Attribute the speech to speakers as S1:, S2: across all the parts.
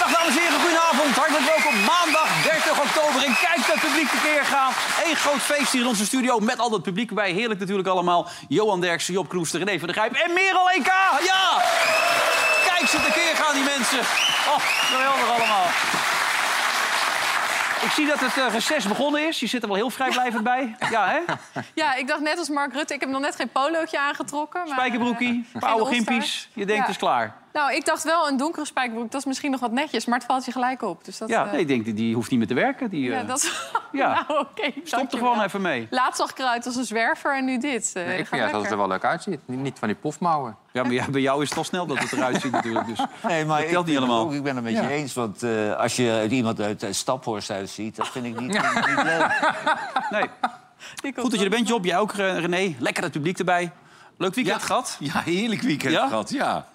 S1: Dag dames en heren, goedenavond. Hartelijk welkom maandag 30 oktober. En kijk dat publiek tekeer gaan. Eén groot feest hier in onze studio met al dat publiek erbij. Heerlijk natuurlijk allemaal. Johan Derksen, Job Kroester, René van der Grijp en Merel EK. Ja! Kijk ze tekeer gaan, die mensen. Oh, geweldig allemaal. Ik zie dat het eh, reces begonnen is. Je zit er wel heel vrijblijvend bij. Ja, hè?
S2: Ja, ik dacht net als Mark Rutte, ik heb nog net geen polootje aangetrokken. Maar,
S1: Spijkerbroekie,
S2: eh,
S1: oude
S2: geen all-stars.
S1: gimpies. Je denkt,
S2: Ja.
S1: het is klaar.
S2: Nou, ik dacht wel een donkere spijkerbroek, dat is misschien nog wat netjes, maar het valt je gelijk op. Dus dat,
S1: Ja,
S2: eh,
S1: nee, ik denk, die- die hoeft niet meer te werken. Die,
S2: ja,
S1: eh,
S2: dat is...
S1: ja.
S2: nou, oké.
S1: Stop er
S2: dankjewel.
S1: gewoon even mee.
S2: Laatst zag ik eruit als een zwerver en nu dit. Eh,
S3: ik
S2: ga
S3: vind juist dat het
S2: lekker.
S3: er wel leuk uitziet. Niet- Niet van die pofmouwen.
S1: Ja, maar ja, bij jou is het al snel dat het eruit ziet natuurlijk. Dus
S4: Nee, maar
S1: dat telt niet
S4: ik ben
S1: helemaal.
S4: ook- ik ben het met je eens, want eh, als je uit iemand uit eh, Staphorst uitziet... dat vind ik niet, niet leuk.
S1: Nee.
S2: Die komt
S1: Goed dat je er
S2: wel.
S1: bent, Job. Jij ook, eh, René. Lekker het publiek erbij. Leuk weekend gehad.
S5: Ja, heerlijk weekend
S1: Ja?
S5: gehad, ja.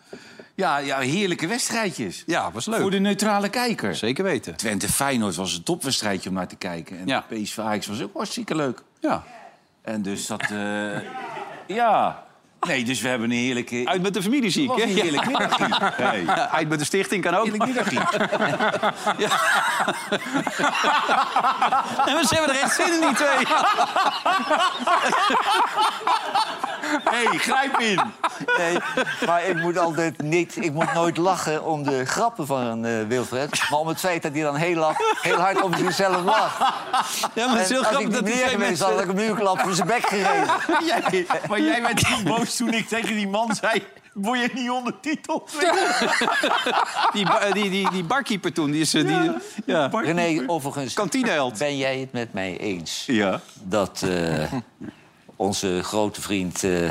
S5: ja. Ja, heerlijke wedstrijdjes.
S1: Ja, was leuk.
S5: Voor de neutrale kijker.
S1: Zeker weten.
S5: Twente Feyenoord was een topwedstrijdje om naar te kijken. En
S1: Ja.
S5: PSV Ajax was ook hartstikke leuk.
S1: Ja.
S5: En dus dat... eh, ja. Nee, dus we hebben een heerlijke...
S1: Uit met de familie zie ik.
S5: was
S1: Hè?
S5: een heerlijk middagje. Hey.
S1: Ja, Uit met de stichting kan ook.
S5: Heerlijk middagje.
S1: En we zijn er echt zin in die twee.
S5: hey, grijp in.
S4: Nee, maar ik moet altijd niet... Ik moet nooit lachen om de grappen van eh, Wilfred... maar om het feit dat hij dan heel, laf- heel hard om zichzelf lacht.
S1: Ja, maar het is heel
S4: En als ik
S1: grappig
S4: niet
S1: dat die
S4: meer
S1: twee
S4: geweest
S1: mensen...
S4: had, had ik hem nu een klap voor zijn bek gegeven.
S5: Jij, maar jij werd zo boos toen ik tegen die man zei... Word je niet ondertiteld?
S1: Die, ba- eh, die, die, die barkeeper toen, die is... eh, Die, ja.
S4: René, overigens,
S1: Kantineheld.
S4: ben jij het met mij eens...
S5: Ja.
S4: dat eh, onze grote vriend... eh,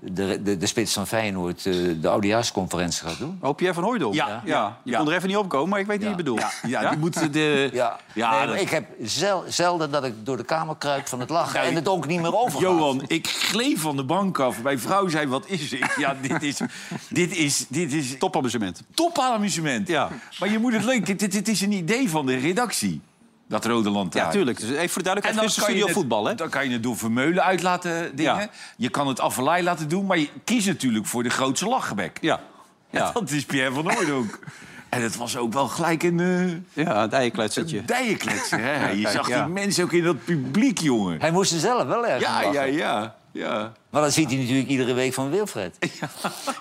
S4: de, de, de spits van Feyenoord eh, de oudejaarsconferentie gaat doen?
S1: Oh, Pierre van Hooijdonk.
S5: Ja.
S1: ja. Je
S5: Ja.
S1: kon er even niet opkomen, maar ik weet wie je bedoelt.
S5: Ja, ja, die moeten de...
S4: Ja,
S5: Ja,
S4: Nee, maar
S5: dat-
S4: ik heb zel- zelden dat ik door de kamer kruip van het lachen
S5: Nou,
S4: en
S5: ik-
S4: het ook niet meer overgaat.
S5: Johan, ik gleef van de bank af. Mijn vrouw zei, wat is dit? Ja, dit is, dit is, dit is
S1: Topamusement.
S5: topamusement.
S1: Ja.
S5: Maar je moet het leuk... Dit, dit, dit is een idee van de redactie, dat Rode Lantaarn.
S1: Ja, tuurlijk. Dus even voor de
S5: En
S1: duidelijkheid,
S5: dan
S1: het is
S5: kan, je
S1: studio
S5: het,
S1: voetbal, hè?
S5: dan kan je het door Vermeulen uit laten dingen.
S1: Ja.
S5: Je kan het Avalai laten doen, maar je kiest natuurlijk voor de grootste lachgebek.
S1: Ja. Ja,
S5: Dat is Pierre van Hooydonk. en het was ook wel gelijk een eh,
S1: ja het eienkletsertje.
S5: dijenkletser, hè? Je
S1: kijk,
S5: zag
S1: ja.
S5: die mensen ook in dat publiek, jongen.
S4: Hij moest er zelf wel erg om
S5: Ja,
S4: lachen.
S5: ja, ja. ja.
S4: Maar dat ziet hij natuurlijk iedere week van Wilfred.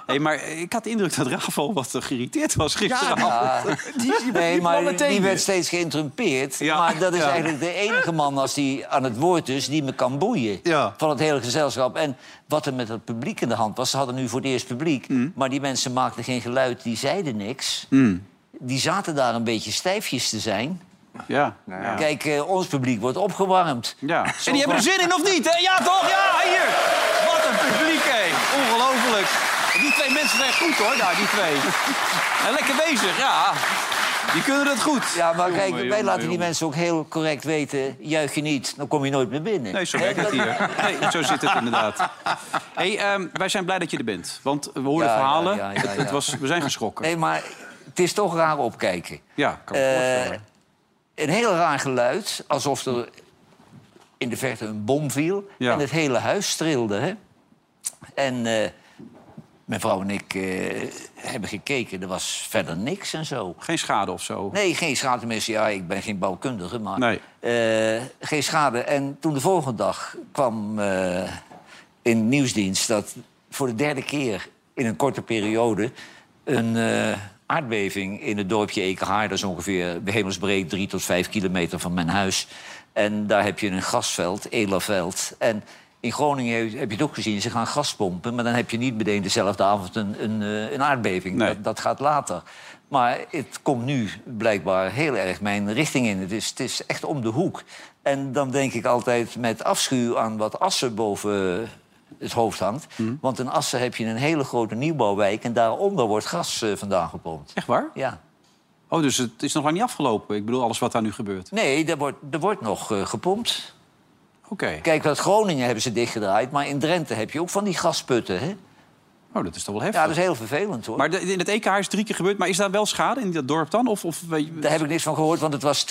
S1: Hey, maar ik had de indruk dat Rafael wat eh, geïrriteerd was gisteravond.
S4: Nee,
S5: ballen
S4: maar die
S5: tegen.
S4: werd steeds geïnterrumpeerd.
S1: Ja.
S4: Maar dat is
S1: Ja.
S4: eigenlijk de enige man als die aan het woord is... die me kan boeien
S1: Ja.
S4: van het hele gezelschap. En wat er met het publiek in de hand was... ze hadden nu voor het eerst publiek...
S5: Mm.
S4: maar die mensen maakten geen geluid, die zeiden niks. Die zaten daar een beetje stijfjes te zijn.
S1: Ja.
S4: Kijk, eh, ons publiek wordt opgewarmd.
S1: ja. En die hebben er zin in, of niet? Hè? Ja, toch? Ja, hier! Wat een publiek, hé. Ongelooflijk. Die twee mensen zijn goed, hoor, daar, die twee. En lekker bezig, ja. Die kunnen het goed.
S4: Ja, maar kijk, wij laten die mensen ook heel correct weten... juich je niet, dan kom je nooit meer binnen.
S1: Nee, zo werkt het hier. Nee, zo zit het inderdaad. Hey, ehm, wij zijn blij dat je er bent. Want we hoorden
S4: Ja, ja,
S1: verhalen.
S4: ja, ja,
S1: Het- Het
S4: ja.
S1: was, we zijn geschrokken.
S4: Nee, maar het is toch raar opkijken.
S1: Ja, kan ik me
S4: Eh,
S1: voorstellen.
S4: een heel raar geluid, alsof er in de verte een bom viel...
S1: Ja.
S4: en het hele huis trilde. Hè? En eh, mijn vrouw en ik eh, hebben gekeken, er was verder niks en zo.
S1: Geen schade of zo.
S4: Nee, geen schade. Tenminste, ja, ik ben geen bouwkundige, maar...
S1: Nee.
S4: eh, geen schade. En toen de volgende dag kwam eh, in de nieuwsdienst... dat voor de derde keer in een korte periode... een eh, aardbeving in het dorpje Ekenhaar... dat is ongeveer bij hemelsbreed drie tot vijf kilometer van mijn huis. En daar heb je een gasveld, Elaveld. En in Groningen heb je- heb je het ook gezien, ze gaan gas pompen... maar dan heb je niet meteen dezelfde avond een, een, eh, een aardbeving.
S1: Nee.
S4: Dat, dat gaat later. Maar het komt nu blijkbaar heel erg mijn richting in. Het is, het is echt om de hoek. En dan denk ik altijd met afschuw aan wat assen boven het hoofd hangt. Want in Assen heb je een hele grote nieuwbouwwijk... en daaronder wordt gas eh, vandaan gepompt.
S1: Echt waar?
S4: Ja.
S1: Oh, dus het is nog lang niet afgelopen. Ik bedoel, alles wat daar nu gebeurt.
S4: Nee, er wordt, er wordt nog eh, gepompt.
S1: Oké.
S4: Kijk, wat Groningen hebben ze dichtgedraaid... maar in Drenthe heb je ook van die gasputten, hè?
S1: Oh, dat is toch wel heftig.
S4: Ja, dus- dat is heel vervelend, hoor.
S1: Maar de- in het EKH is drie keer gebeurd. Maar is daar wel schade in dat dorp dan? Of, of weet je-
S4: Daar heb ik niks van gehoord, want het was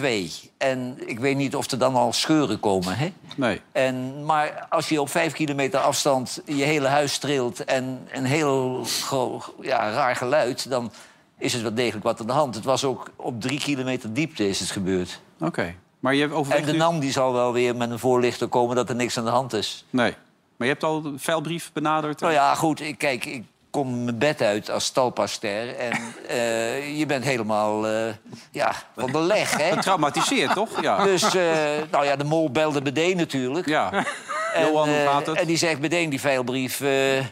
S4: 2,2. En ik weet niet of er dan al scheuren komen, hè?
S1: Nee.
S4: En, maar als je op vijf kilometer afstand je hele huis trilt... en een heel gro- ja, raar geluid, dan is het wel degelijk wat aan de hand. Het was ook op drie kilometer diepte is het gebeurd.
S1: Oké. Maar je hebt
S4: En
S1: overwegd
S4: de
S1: nu-
S4: NAM die zal wel weer met een voorlichter komen dat er niks aan de hand is.
S1: Nee. Maar je hebt al de veilbrief benaderd.
S4: Nou ja, goed, ik, kijk, ik kom mijn bed uit als talpaster... en eh, je bent helemaal eh, ja, van de leg, hè?
S1: Traumatiseerd, toch? Ja.
S4: Dus, eh, nou ja, de mol belde BD natuurlijk.
S1: ja.
S4: En,
S1: Johan, hoe
S4: eh,
S1: gaat het?
S4: En die zegt meteen die veilbrief eh, een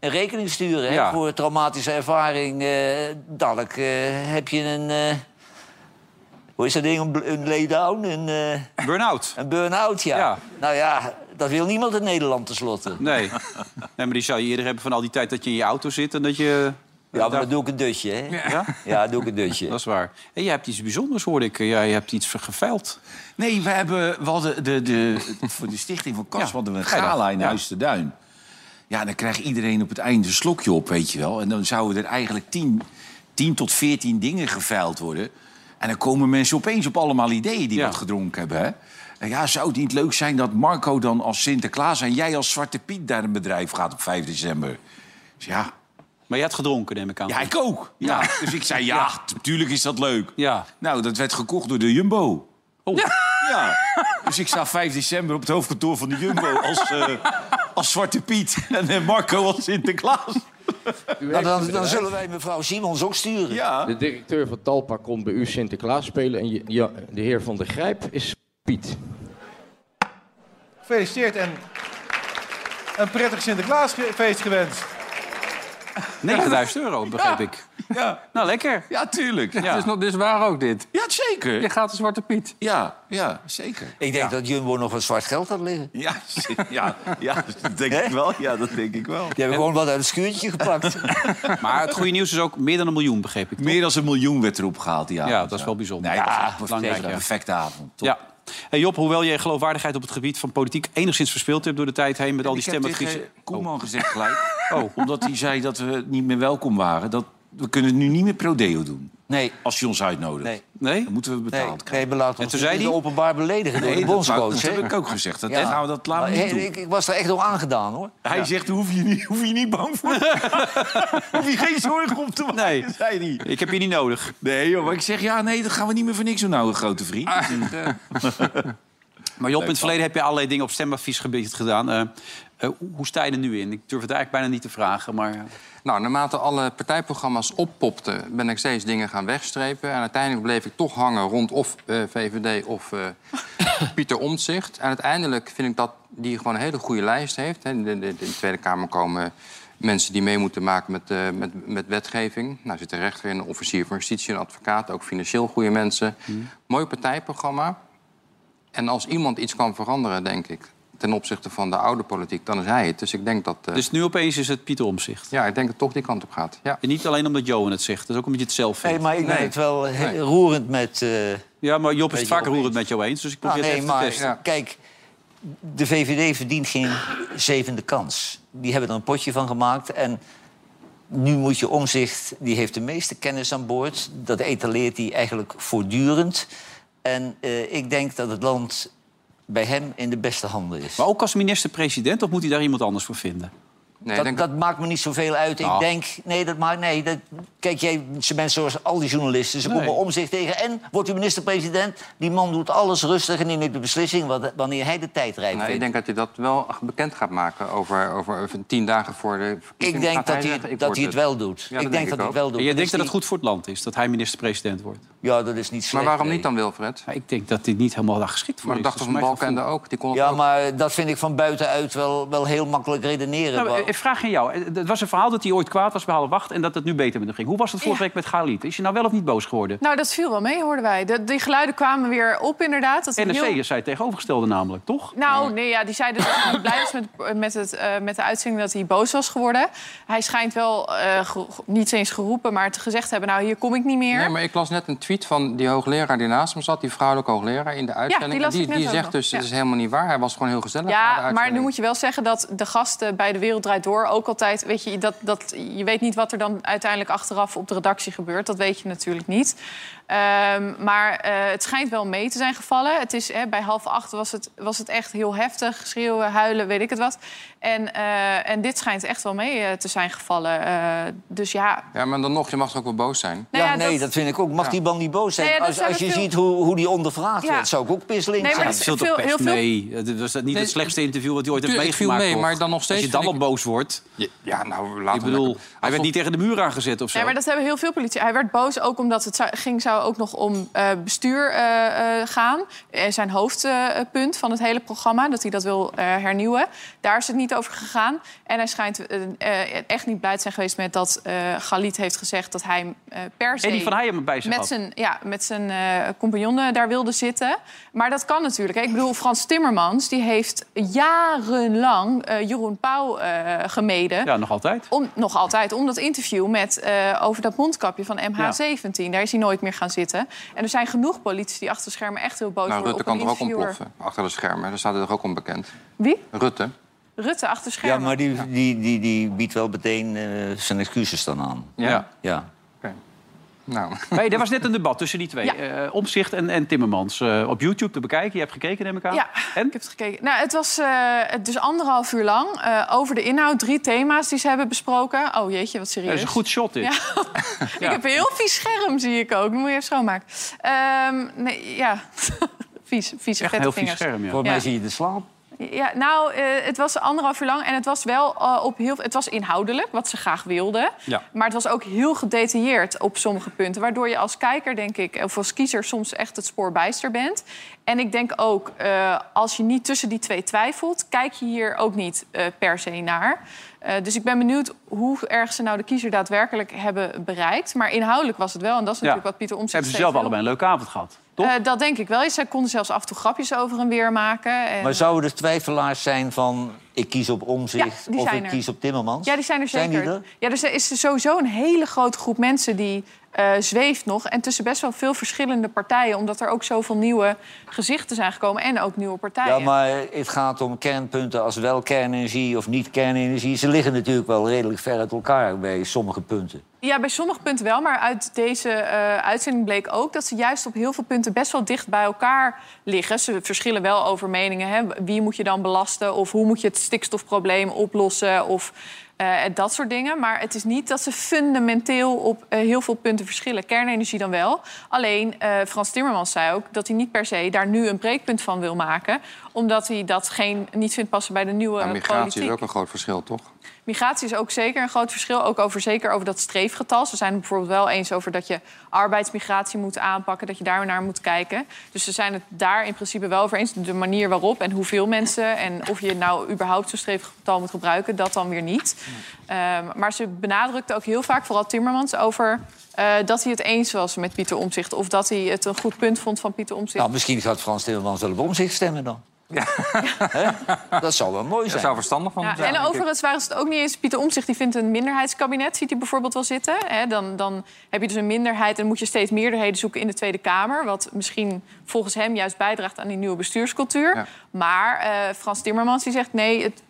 S4: rekening sturen. hè,
S1: Ja.
S4: voor traumatische ervaring. eh dadelijk eh, heb je een... eh, hoe is dat ding? Een, bl- een laydown? Een, eh,
S1: Burn-out.
S4: een burn-out, ja.
S1: Ja.
S4: Nou ja, dat wil niemand in Nederland tenslotte.
S1: Nee. nee. Maar die zou je eerder hebben van al die tijd dat je in je auto zit en dat je...
S4: Ja, maar dan doe ik een dutje, hè? Ja,
S1: Ja?
S4: doe ik een dutje.
S1: Dat is waar. En jij hebt iets bijzonders, hoorde ik. Jij hebt iets geveild.
S5: Nee, we, hebben, we hadden de, de, voor de stichting van Kas
S1: Ja,
S5: hadden we een
S1: vrijdag,
S5: gala in
S1: ja.
S5: Huis te Duin. Ja, dan krijgt iedereen op het einde een slokje op, weet je wel. En dan zouden er eigenlijk 10 10 tot 14 dingen geveild worden. En dan komen mensen opeens op allemaal ideeën die
S1: Ja.
S5: wat gedronken hebben. Hè? En ja, zou het niet leuk zijn dat Marco dan als Sinterklaas... en jij als Zwarte Piet naar een bedrijf gaat op 5 december? Dus ja,
S1: Maar je had gedronken, neem ik aan.
S5: ja ik ook. Ja. Dus ik zei, ja, natuurlijk is dat leuk.
S1: Ja.
S5: Nou, dat werd gekocht door de Jumbo.
S1: Oh.
S5: Ja. Dus ik sta 5 december op het hoofdkantoor van de Jumbo als, eh, als Zwarte Piet. En eh, Marco als Sinterklaas.
S4: Nou, dan, dan zullen wij mevrouw Simons ook sturen.
S5: Ja.
S6: De directeur van Talpa komt bij u Sinterklaas spelen en je- ja, de heer Van der Grijp is Piet.
S7: Gefeliciteerd en een prettig Sinterklaasfeest gewenst.
S1: 9000 euro, begreep ik.
S5: Ja,
S1: Nou, lekker.
S5: ja tuurlijk. Ja,
S3: Het is, nog, dit is waar ook dit.
S5: Ja, zeker.
S3: Je gaat de Zwarte Piet.
S5: Ja, ja zeker.
S4: Ik denk dat Jumbo nog wat zwart geld had liggen.
S5: Ja, ja, ja, dat denk ik wel. Ja, dat denk ik wel.
S4: Die hebben gewoon wat uit het schuurtje gepakt.
S1: Maar het goede nieuws is ook meer dan een miljoen, begreep ik. toch?
S5: Meer dan een miljoen werd erop gehaald die avond.
S1: Ja, dat is wel bijzonder.
S5: Nee, Nou dat was
S1: Ja,
S5: echt
S1: belangrijk,
S5: een
S1: ja.
S5: perfecte avond. Top.
S1: Ja. Hey Job, hoewel je geloofwaardigheid op het gebied van politiek enigszins verspeeld hebt door de tijd heen met al die
S5: ik heb
S1: stemadviezen.
S5: tegen Koeman gezegd gelijk.
S1: Oh.
S5: Oh. Omdat hij zei dat we niet meer welkom waren. Dat we kunnen nu niet meer prodeo doen.
S4: Nee,
S5: Als je ons uitnodigt.
S4: Nee.
S1: Nee?
S5: Dan moeten we
S4: nee,
S5: betaald
S4: nee belaat
S1: En
S4: ons
S1: toen
S4: niet
S1: zei
S4: de
S1: die-
S4: openbaar beledigen door de
S5: dat, wou-
S4: bondscoach.
S5: dat
S4: hè?
S5: heb ik ook gezegd. Dat
S4: Ja.
S5: gaan we dat
S4: Maar
S5: laten we niet
S4: he-
S5: doen.
S4: ik, ik was er echt door aangedaan, hoor.
S5: Hij zegt, hoef je niet, hoef je niet bang voor. hoef je geen zorgen om te maken,
S1: Nee.
S5: zei hij.
S1: Ik heb je niet nodig.
S5: Nee, joh, maar ik zeg, ja, nee, dat gaan we niet meer voor niks doen nou, grote vriend.
S1: Maar Job, in het verleden heb je allerlei dingen op stemadviesgebied gedaan. Eh, eh, hoe sta je er nu in? Ik durf het eigenlijk bijna niet te vragen, maar... eh,
S3: Nou, naarmate alle partijprogramma's oppopten... ben ik steeds dingen gaan wegstrepen. En uiteindelijk bleef ik toch hangen rond of eh, VVD of eh, Pieter Omtzigt. En uiteindelijk vind ik dat die gewoon een hele goede lijst heeft. Hè. In de, de, de Tweede Kamer komen mensen die mee moeten maken met, eh, met, met wetgeving. Nou, er zit een rechter in, een officier van justitie, een advocaat... ook financieel goede mensen. Mooi partijprogramma. En als iemand iets kan veranderen, denk ik... ten opzichte van de oude politiek, dan is hij het. Dus ik denk dat... eh,
S1: Dus nu opeens is het Pieter Omzicht.
S3: ja, ik denk dat het toch die kant op gaat. Ja.
S1: En niet alleen omdat Johan het zegt, dat is ook omdat je het zelf vindt.
S4: Nee, maar ik ben
S3: Nee.
S4: het wel he- roerend met... eh,
S1: Ja, maar Job is het
S4: Beetje
S1: vaker roerend met jou eens, dus ik
S4: nou,
S1: probeer
S5: Ah,
S1: het
S4: nee,
S1: even te
S4: maar
S1: testen.
S3: ja.
S4: kijk, de VVD verdient geen zevende kans. Die hebben er een potje van gemaakt en... Nu moet je omzicht, die heeft de meeste kennis aan boord. Dat etaleert hij eigenlijk voortdurend. En eh, ik denk dat het land bij hem in de beste handen is.
S1: Maar ook als minister-president, of moet hij daar iemand anders voor vinden?
S3: Nee, ik
S4: dat,
S3: denk
S4: dat maakt me niet zoveel uit. Ik
S1: Nou.
S4: denk, nee, dat maakt, nee, dat, kijk, jij, ze mensen zoals al die journalisten, ze
S1: Nee.
S4: komen om zich tegen. En wordt u minister-president? Die man doet alles rustig en die neemt de beslissing wat- wanneer hij de tijd rijdt.
S3: Nou, ik denk dat je dat wel bekend gaat maken over, over, over tien dagen voor de verkiezingen.
S4: ik denk
S3: Gaat
S4: dat hij,
S3: zeggen, ik
S4: dat
S3: word
S4: hij het wel doet.
S3: Ja, dat
S4: ik denk,
S3: denk ik
S4: dat hij
S3: ook.
S4: het wel doet.
S1: En jij
S4: Dan
S1: denkt
S4: is
S1: dat het
S4: die-
S1: goed voor het land is, dat hij minister-president wordt?
S4: Ja, dat is niet slecht.
S3: Maar waarom
S4: nee.
S3: niet dan, Wilfred?
S1: Maar ik denk dat dit niet helemaal daar geschikt voor
S3: Maar ik
S1: is.
S3: dacht
S1: Dat
S3: toch
S1: is
S3: van
S1: mijn gevoel.
S3: Balkende ook. Die kon het
S4: Ja,
S3: ook.
S4: maar dat vind ik van buitenuit wel, wel heel makkelijk redeneren.
S1: Nou,
S4: Wa-
S1: eh, vraag aan jou. Eh, Het was een verhaal dat hij ooit kwaad was bij Halle Wacht... en dat het nu beter met hem ging. Hoe was het vorige
S2: Ja.
S1: week met Galit? Is je nou wel of niet boos geworden?
S2: Nou, dat viel wel mee, hoorden wij. De, die geluiden kwamen weer op, inderdaad. Dat het
S1: NRC
S2: heel-
S1: is Mm. zij het tegenovergestelde namelijk, toch?
S2: Nou, nee, ja, die zei dus dat hij niet blij was met, met, het, eh, met de uitzending dat hij boos was geworden. Hij schijnt wel eh, ge- niet eens geroepen, maar te gezegd te hebben... nou, hier kom ik niet meer.
S3: Nee, maar ik las net een tweet van die hoogleraar die naast me zat, die vrouwelijke hoogleraar in de uitzending.
S2: die las
S3: die
S2: ik net ook
S3: zegt
S2: nog.
S3: dus,
S2: Ja.
S3: het is helemaal niet waar. Hij was gewoon heel gezellig.
S4: nou,
S3: na
S2: Ja,
S3: de
S2: maar
S3: uitzending.
S2: nu moet je wel zeggen dat de gasten bij De Wereld Draait Door ook altijd... Weet je, dat, dat, je weet niet wat er dan uiteindelijk achteraf op de redactie gebeurt. Dat weet je natuurlijk niet. Ehm, maar eh, het schijnt wel mee te zijn gevallen. Het is, hè, bij half acht was het, was het echt heel heftig. Schreeuwen, huilen, weet ik het wat. En, eh, en dit schijnt echt wel mee eh, te zijn gevallen. Eh, dus ja...
S3: Ja, maar dan nog, je mag toch ook wel boos zijn.
S2: nou
S4: ja, nee, dat... vind ik ook. Mag die man niet boos zijn?
S2: Nee, ja, dat
S4: als
S2: zijn
S4: als je
S2: er veel-
S4: ziet hoe, hoe die ondervraagd
S2: Ja.
S4: werd, zou ik ook pisseling
S2: Nee, maar
S4: zijn.
S1: Het
S2: dat
S1: viel toch
S2: veel-
S1: best
S2: heel veel-
S1: mee? Het Eh, was dat niet het
S3: Nee,
S1: slechtste interview wat hij ooit heeft
S3: tuurlijk, het viel
S1: meegemaakt?
S3: mee,
S1: toch?
S3: maar dan nog steeds
S1: Als je dan
S3: vind
S1: al
S3: ik-
S1: boos wordt.
S3: Ja, nou, laat
S1: Ik bedoel,
S3: lekker-
S1: hij werd niet tegen de muur aangezet of zo.
S2: Ja, maar dat hebben heel veel politie. Hij werd boos ook omdat het zou- ging zou ook nog om eh, bestuur eh, eh, gaan. Eh, zijn hoofdpunt eh, van het hele programma, dat hij dat wil eh, hernieuwen. Daar is het niet over gegaan. En hij schijnt eh, eh, echt niet blij te zijn geweest met dat eh Galit heeft gezegd... dat hij eh, per se
S1: en die van Heijem bij zich
S2: met
S1: had.
S2: zijn, ja, met zijn eh compagnon eh, daar wilde zitten. Maar dat kan natuurlijk. hè. Ik bedoel, Frans Timmermans die heeft jarenlang eh, Jeroen Pauw eh, gemeden...
S1: Ja, nog altijd.
S2: Om, nog altijd, om dat interview met, eh, over dat mondkapje van MH17. Daar is hij nooit meer gaan zitten. En er zijn genoeg politici die achter de schermen echt heel boos
S3: Nou,
S2: worden
S3: Rutte
S2: op
S3: kan
S2: een
S3: er ook
S2: interviewer.
S3: ontploffen, achter de schermen. Daar staat hij toch ook onbekend.
S2: Wie?
S3: Rutte.
S2: Rutte achter de
S4: Ja,
S2: schermen.
S4: maar die, die, die, die biedt wel meteen eh, zijn excuses dan aan.
S3: Ja.
S4: Ja.
S2: Eh,
S3: Nou,
S1: Nee, er was net een debat tussen die twee.
S2: Ja.
S1: eh Omzicht en, en Timmermans. Eh, op YouTube te bekijken. Je hebt gekeken, neem ik aan.
S2: Ja,
S1: En?
S2: ik heb het gekeken. Nou, het was eh, dus anderhalf uur lang eh, over de inhoud. Drie thema's die ze hebben besproken. Oh jeetje, wat serieus.
S1: Dat is een goed shot, dit.
S2: Ja. Ik heb heel vies scherm, zie ik ook. Dan moet je even schoonmaken. Ehm, nee, ja. vies, vies,
S1: Echt een heel vies scherm, ja.
S4: Voor mij
S2: Ja.
S4: zie je de slaap.
S2: Ja, nou, eh, het was anderhalf uur lang en het was wel eh, op heel... Het was inhoudelijk, wat ze graag wilden.
S1: Ja.
S2: Maar het was ook heel gedetailleerd op sommige punten. Waardoor je als kijker, denk ik, of als kiezer soms echt het spoor bijster bent. En ik denk ook, eh, als je niet tussen die twee twijfelt... kijk je hier ook niet eh, per se naar. Eh, dus ik ben benieuwd hoe erg ze nou de kiezer daadwerkelijk hebben bereikt. Maar inhoudelijk was het wel, en dat is
S1: Ja.
S2: natuurlijk wat Pieter Omtzigt
S1: Hebben ze zelf
S2: steeds wil.
S1: allebei een leuke avond gehad, toch?
S2: Eh, dat denk ik wel. Zij konden zelfs af en toe grapjes over en weer maken. En...
S4: Maar zouden er twijfelaars zijn van ik kies op omzicht
S2: Ja, die
S4: of
S2: zijn
S4: ik
S2: er.
S4: kies op Timmermans?
S2: Ja, die zijn er zeker.
S4: die er?
S2: Ja, dus er is sowieso een hele grote groep mensen die eh, zweeft nog. En tussen best wel veel verschillende partijen. Omdat er ook zoveel nieuwe gezichten zijn gekomen. En ook nieuwe partijen.
S4: Ja, maar het gaat om kernpunten als wel kernenergie of niet kernenergie. Ze liggen natuurlijk wel redelijk ver uit elkaar bij sommige punten.
S2: Ja, bij sommige punten wel. Maar uit deze eh, uitzending bleek ook dat ze juist op heel veel punten best wel dicht bij elkaar liggen. Ze verschillen wel over meningen. Hè? Wie moet je dan belasten? Of hoe moet je het stikstofprobleem oplossen? Of eh, dat soort dingen. Maar het is niet dat ze fundamenteel op eh, heel veel punten verschillen. Kernenergie dan wel. Alleen eh, Frans Timmermans zei ook dat hij niet per se daar nu een breekpunt van wil maken. Omdat hij dat geen, niet vindt passen bij de nieuwe
S3: nou, migratie
S2: politiek.
S3: is ook een groot verschil, toch?
S2: Migratie is ook zeker een groot verschil. Ook over, zeker over dat streefgetal. Ze zijn het bijvoorbeeld wel eens over dat je arbeidsmigratie moet aanpakken. Dat je daar naar moet kijken. Dus ze zijn het daar in principe wel over eens. De manier waarop en hoeveel mensen. En of je nou überhaupt zo'n streefgetal moet gebruiken. Dat dan weer niet. Ehm, maar ze benadrukte ook heel vaak, vooral Timmermans, over... eh, dat hij het eens was met Pieter Omtzigt. Of dat hij het een goed punt vond van Pieter Omtzigt.
S4: Nou, misschien gaat Frans Timmermans wel op omzicht stemmen dan. Hè? Dat zou wel mooi
S3: Dat
S4: zijn.
S3: zou verstandig van
S2: Ja,
S3: hem zijn.
S2: en
S3: denk ik.
S2: overigens waren ze het ook niet eens. Pieter Omtzigt die vindt een minderheidskabinet, ziet hij bijvoorbeeld wel zitten. Hè, dan, dan heb je dus een minderheid en moet je steeds meerderheden zoeken in de Tweede Kamer. Wat misschien volgens hem juist bijdraagt aan die nieuwe bestuurscultuur.
S3: Ja.
S2: Maar eh, Frans Timmermans die zegt nee, het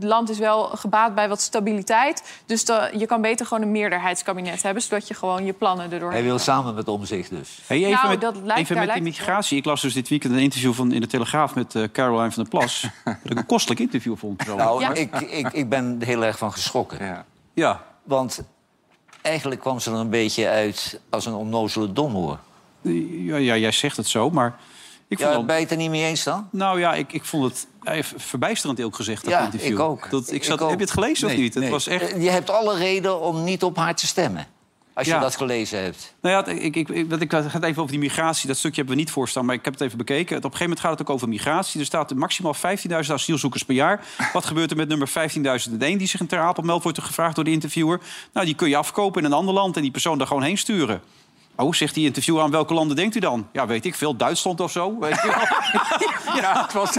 S2: land is wel gebaat bij wat stabiliteit. Dus da- je kan beter gewoon een meerderheidskabinet hebben, zodat je gewoon je plannen erdoor
S4: Hij wil samen met omzicht dus.
S1: Hey, even
S2: Nou,
S1: met,
S2: dat lijkt-
S1: even
S2: daar
S1: met die
S2: lijkt het
S1: migratie. Ik las dus dit weekend een interview van, in de Telegraaf met eh, Caroline van der Plas. dat ik een kostelijk interview vond. Zo.
S4: Nou,
S2: Ja.
S4: ik, ik, ik ben er heel erg van geschrokken.
S3: Ja.
S1: ja.
S4: Want eigenlijk kwam ze er een beetje uit als een onnozele domhoor.
S1: Ja, ja, jij zegt het zo, maar ik vond
S4: Ja,
S1: wel-
S4: ben je het er niet mee eens dan?
S1: Nou ja, ik, ik vond het eh, verbijsterend eerlijk gezegd, dat
S4: Ja,
S1: interview.
S4: ik ook.
S1: Dat, ik
S4: Ik
S1: zat,
S4: ook.
S1: Heb je het gelezen of
S5: Nee,
S1: niet? Het
S5: nee.
S1: was echt...
S4: Eh, Je hebt alle reden om niet op haar te stemmen. als je
S1: Ja.
S4: dat gelezen hebt.
S1: Nou ja, ik, ik, ik, want ik had het even over die migratie. Dat stukje hebben we niet voorstaan, maar ik heb het even bekeken. Het- Op een gegeven moment gaat het ook over migratie. Er staat maximaal 15.000 asielzoekers per jaar. Wat gebeurt er met nummer 15.001 die zich in Ter Apel meldt? Wordt er gevraagd door de interviewer. Nou, die kun je afkopen in een ander land en die persoon daar gewoon heen sturen. Oh, zegt die interviewer, aan welke landen denkt u dan? Ja, weet ik veel, Duitsland of zo. Weet je wel. ja, het was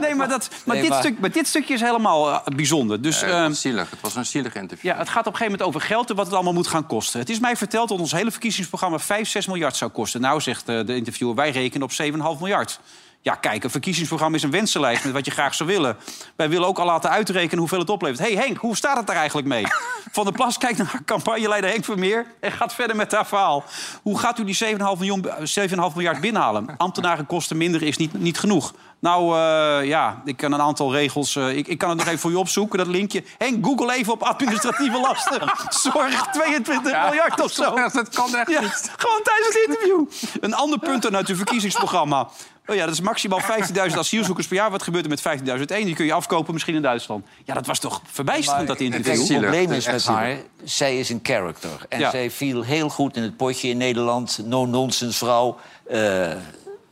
S1: Nee, maar, dat, maar,
S4: Nee,
S1: dit,
S4: maar-
S1: Stuk, maar dit stukje is helemaal eh, bijzonder. Dus,
S3: Eh,
S1: ehm,
S3: zielig. Het was een zielig interview.
S1: ja, het gaat op een gegeven moment over geld en wat het allemaal moet gaan kosten. Het is mij verteld dat ons hele verkiezingsprogramma 5, 6 miljard zou kosten. Nou, zegt eh, de interviewer, wij rekenen op 7,5 miljard. Ja, kijk, een verkiezingsprogramma is een wensenlijst met wat je graag zou willen. Wij willen ook al laten uitrekenen hoeveel het oplevert. hey Henk, hoe staat het daar eigenlijk mee? Van der Plas kijkt naar campagneleider Henk Vermeer en gaat verder met haar verhaal. Hoe gaat u die 7,5 miljoen- eh, 7,5 miljard binnenhalen? Ambtenaren kosten minder is niet, niet genoeg. Nou, eh, ja, ik kan een aantal regels. eh, ik, ik kan het nog even voor je opzoeken, dat linkje. Henk, google even op administratieve lasten. Zorg 22 miljard of zo.
S3: Dat kan echt
S1: Ja, oh.
S3: niet.
S1: gewoon tijdens het interview. Een ander punt dan uit uw verkiezingsprogramma. Oh ja, dat is maximaal 15.000 asielzoekers per jaar. Wat gebeurt er met 15.001? Die kun je afkopen misschien in Duitsland. Ja, dat was toch verbijsterend, dat
S4: Kijk,
S1: interview?
S4: het
S3: zielig.
S4: probleem
S3: Het
S4: is
S3: is echt
S4: met haar, zij is een character. En
S1: Ja.
S4: zij viel heel goed in het potje in Nederland. No-nonsense vrouw. eh,